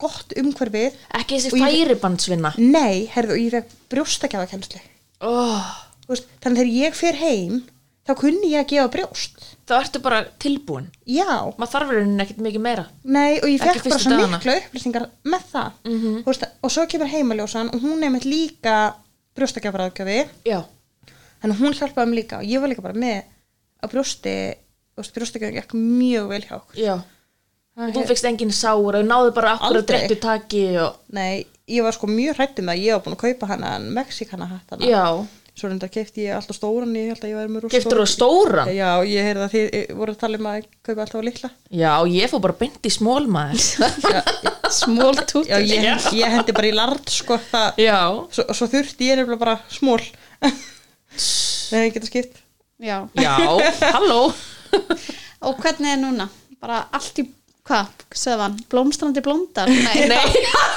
gott umhverfið. ekki Og þessi ég- færibandsvinna Nei, herðu, og ég fekk brjóstakjáðakenslu. oh, Veist, þannig þegar ég fer heim, þá kunni ég að gefa brjóst. þá ertu bara tilbúin Já, maður þarf verið ekkert mikið meira Nei, og ég Ekki fekk bara fyrstu svo dagana. Mhm. miklu upplýsingar með það. Mm veist, og svo kemur heimaljósan og hún er með líka brjóstakjáðakjáðakjáði. já, þannig að hún hjálpaði mér líka og ég var líka bara með á brjósti og brjóstakjöfing ekki mjög vel hjá okkur Já, Það og er- þú fekst engin sára og náðu bara akkur að Aldrei. drettu taki og... Nei, ég var sko mjög hrættum að ég var búin að kaupa hana en Mexikana hattana Já, Svo reyndar keipti ég alltaf stóran ég held að ég væri með rosa geftur þú stóran Já, ég heyrði að þið voru að tala um að kaupa alltaf litla Já, ég fór bara beint í smólmaður smól tút Já, ég, ég hendi bara í lard sko það Já, Svo, svo þurfti ég nefnilega bara smól Nei, ég geta skipt já. já, halló og hvernig er núna? bara allt í, hvað, söðan blómstrandi blóndar? Nei, Nei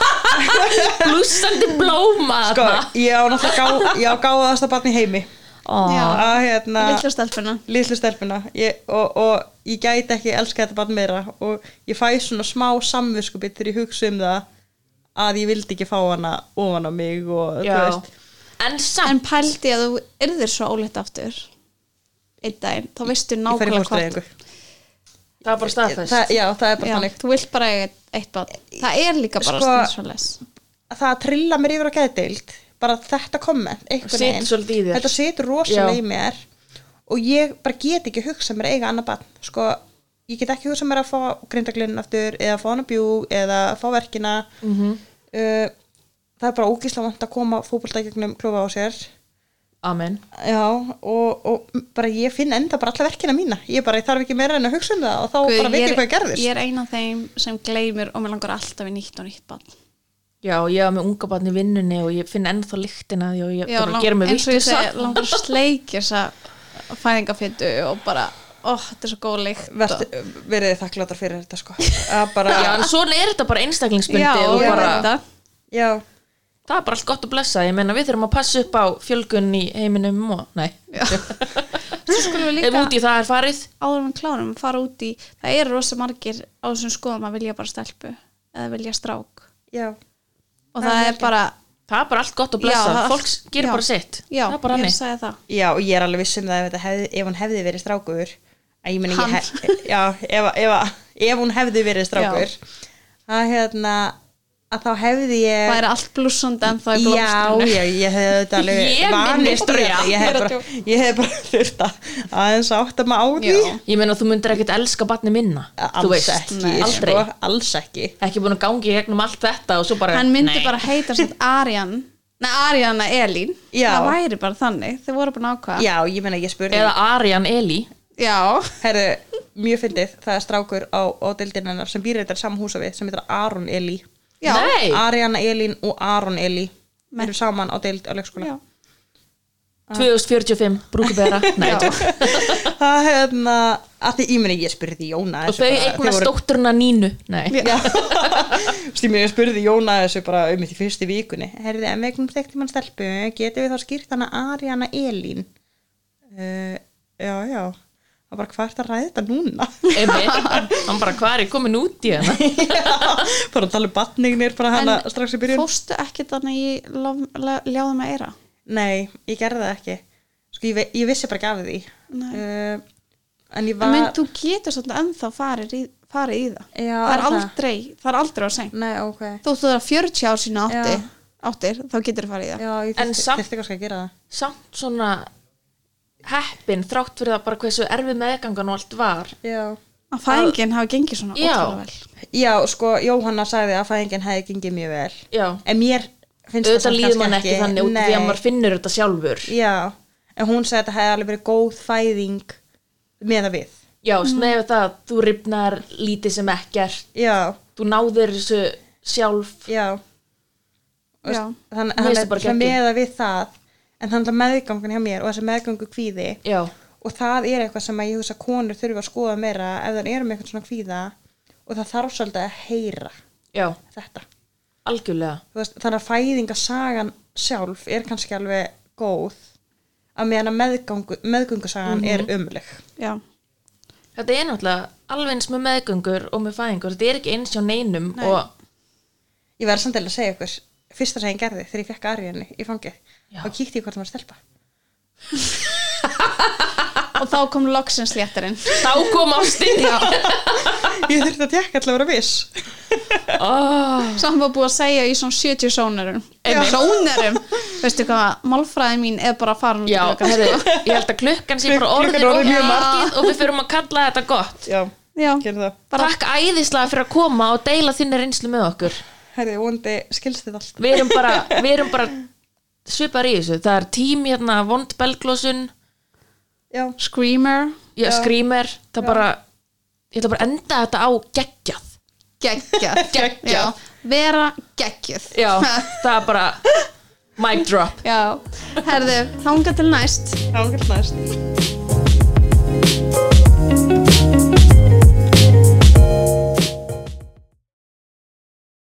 Blúsandi blóma Sko, þarna. ég á náttúrulega gá, ég á gáðast að barni heimi Ó, Já. að hérna litlu stelpuna litlu stelpuna ég, og, og ég gæti ekki elska þetta barn meira og ég fæ svona smá samviskubið þegar ég hugsa um það að ég vildi ekki fá hana ofan á mig og þú já veist En samt, en pældi að þú yrðir svo ólétt aftur einn daginn, þá veistu ég fer í nákvæmlega fóstræðingu það er bara staðfest það, já, það er bara Já, þannig þú vilt bara eiga eitt barn það er líka bara Sko- sko, það að trilla mér yfir á geðdeild bara þetta komment einhvern Situr svolítið í þér. þetta situr Já. rosalega í mér og ég bara get ekki hugsað mér að eiga annað barn sko, ég get ekki hugsað mér að fá grindaglinn aftur eða fá hana bjú eða fá verkina -hmm. uh, það er bara ógísla vant að koma fótbolta í gegnum klófa á sér Amen já, og, og bara ég finn enda bara alla verkina mína ég bara ég þarf ekki meira en að hugsa um það og þá bara veit ég hvað gerðist ég er eina af þeim sem gleymir og mér langar alltaf í nýtt og nýtt barn Já, ég var með unga barn í vinnunni og ég finn ennþá lyktina því og ég Já, bara lang- gera mig eins og ég vitlausa. segi, langar að sleikja þessa fæðingafittu og bara, ó, þetta er svo góð lykt og- Vertu, verið þið þakklátar fyrir þetta sko að bara, Já, en svona er þetta bara Já, einstaklingsbundi og ég bara veit það já það er bara allt gott að blessa ég meina við þurfum að passa upp á fjölgun í heiminum og, nei, Svo skulum ef við líka út í það er farið áður en við klárum að fara út í það eru rosa margir á þessum skoðum að vilja bara stelpu eða vilja strák Já, og það er bara það er bara allt gott að blessa, Já, það er fólk allt- gerir já. bara sitt já, það er bara ég hannig sagði það já og ég er alveg viss um það ef, þetta hefði, ef hann hefði verið strákur En ég meni ekki, Hann. he- já, ef, ef, ef hún hefði verið strákur að hérna að þá hefði ég væri allt blúsandi en það er Já, já, ég hefði þetta alveg Ég minnist vanist Bría. Ég hefði bara, ég hefði bara þurft að aðeins átta maður á því Já. Ég meina þú myndir ekkert elska batni minna Þú Alls veist, ekki, nei. aldrei sko, alls ekki Ekki búin að gangi í gegnum allt þetta og svo bara hann myndi Nei. bara heita sér Arjan Nei, Arjana Elín Já. það væri bara þannig, þið voru búin að ákvaða Já, ég meina, ég spurði Eða Arjan Eli já, Herðu, mjög fyndið, það er strákur á, á deildin hennar sem býr þetta saman húsa við sem heitir Aron Eli já, Ah. Nei, Ariana Elín og Aron Eli Nei. eru saman á deild á leikskóla já. 2045, brúkubera Nei, Já. tjók. Það hefna, að því ég meni ég spurði Jóna og þau eignast dótturna nínu Nei, Stími, ég spurði Jóna þessu bara um í fyrstu vikunni Herði, en við eignum stekti mann stelpu getum við þá skýrt hana Ariana Elín uh, Já, já Það bara hvað er það að ræða þetta núna? emi Hann bara, hvað er ég komin út í hérna?" hana? bara að tala um batningnir bara En hana strax í byrjun fórstu ekkit þannig ég ljáðum að eira Nei, ég gerði það ekki Sko, ég, ve- ég vissi bara ekki af því Nei. uh, En ég en var mynd, þú getur svolítið ennþá farið í, farið í það Já, það, er er það? aldrei, það er aldrei á sein Nei, ok þú þú er að 40 ár sína átti, Já. áttir þá getur þú farið í það Já, ég En þyrfti samt- þyrfti kannski að gera það Samt svona heppin þrátt fyrir það bara hversu erfið meðgangan og allt var Já. að fæðingin hafi gengið svona Já. ótrúlega vel Já, sko, Jóhanna sagði að fæðingin hefði gengið mjög vel. Já, En mér finnst auðvitað samt líður kannski mann ekki, þannig út af því að Nei. maður finnur þetta sjálfur Já, en hún sagði að þetta hefði alveg verið góð fæðing með að við. Já, snæðu það að þú ripnar lítið sem ekkert Já, þú náðir þessu sjálf já. Og Já. s- Þannig Mér að finnst það hann bara er geggjum. með að við það, en þannig að meðgangun hjá mér og þessi meðgangu kvíði Já, og það er eitthvað sem að ég hugsa að konur þurfa að skoða meira ef það eru með eitthvað svona kvíða og það þarf svolítið að heyra já, þetta. algjörlega Þú veist, þannig að fæðingasagan sjálf er kannski alveg góð að meðan að meðgangu, meðgungusagan er umleg já, Þetta er náttúrulega alveg eins með meðgöngur og með fæðingur, þetta er ekki eins hjá neinum Nei. og ég verði samt til að segja ykkur fyrsta sem ég gerði þegar ég fekk Ariðinni í fangið Já. og kíkti ég hvort það var stelpa og þá kom loksins léttarinn þá kom ástin ég þurfti að tekka allavega að vera viss oh, sem var búið að segja í svona 70 sónurum Já. sónurum, veistu hvað málfræði mín er bara farin út í Já, gluggann, herri, sko. ég held að klukkan sé bara Klukkan orðin er og orðin mjög mikið og við fyrum að kalla þetta gott já, já, gerði það bara Takk æðislega fyrir að koma og deila þinni reynslu með okkur herði, vondi skilst þetta allt Við erum bara, við erum bara svipar í þessu, það er tím hérna, vond belglósun, já, screamer já, skrýmer það bara, ég ætla bara að enda þetta á geggjað geggjað Geggjað. Já, vera geggjuð Já, það er bara mic drop já, herðu, þanga til næst þá gerði næst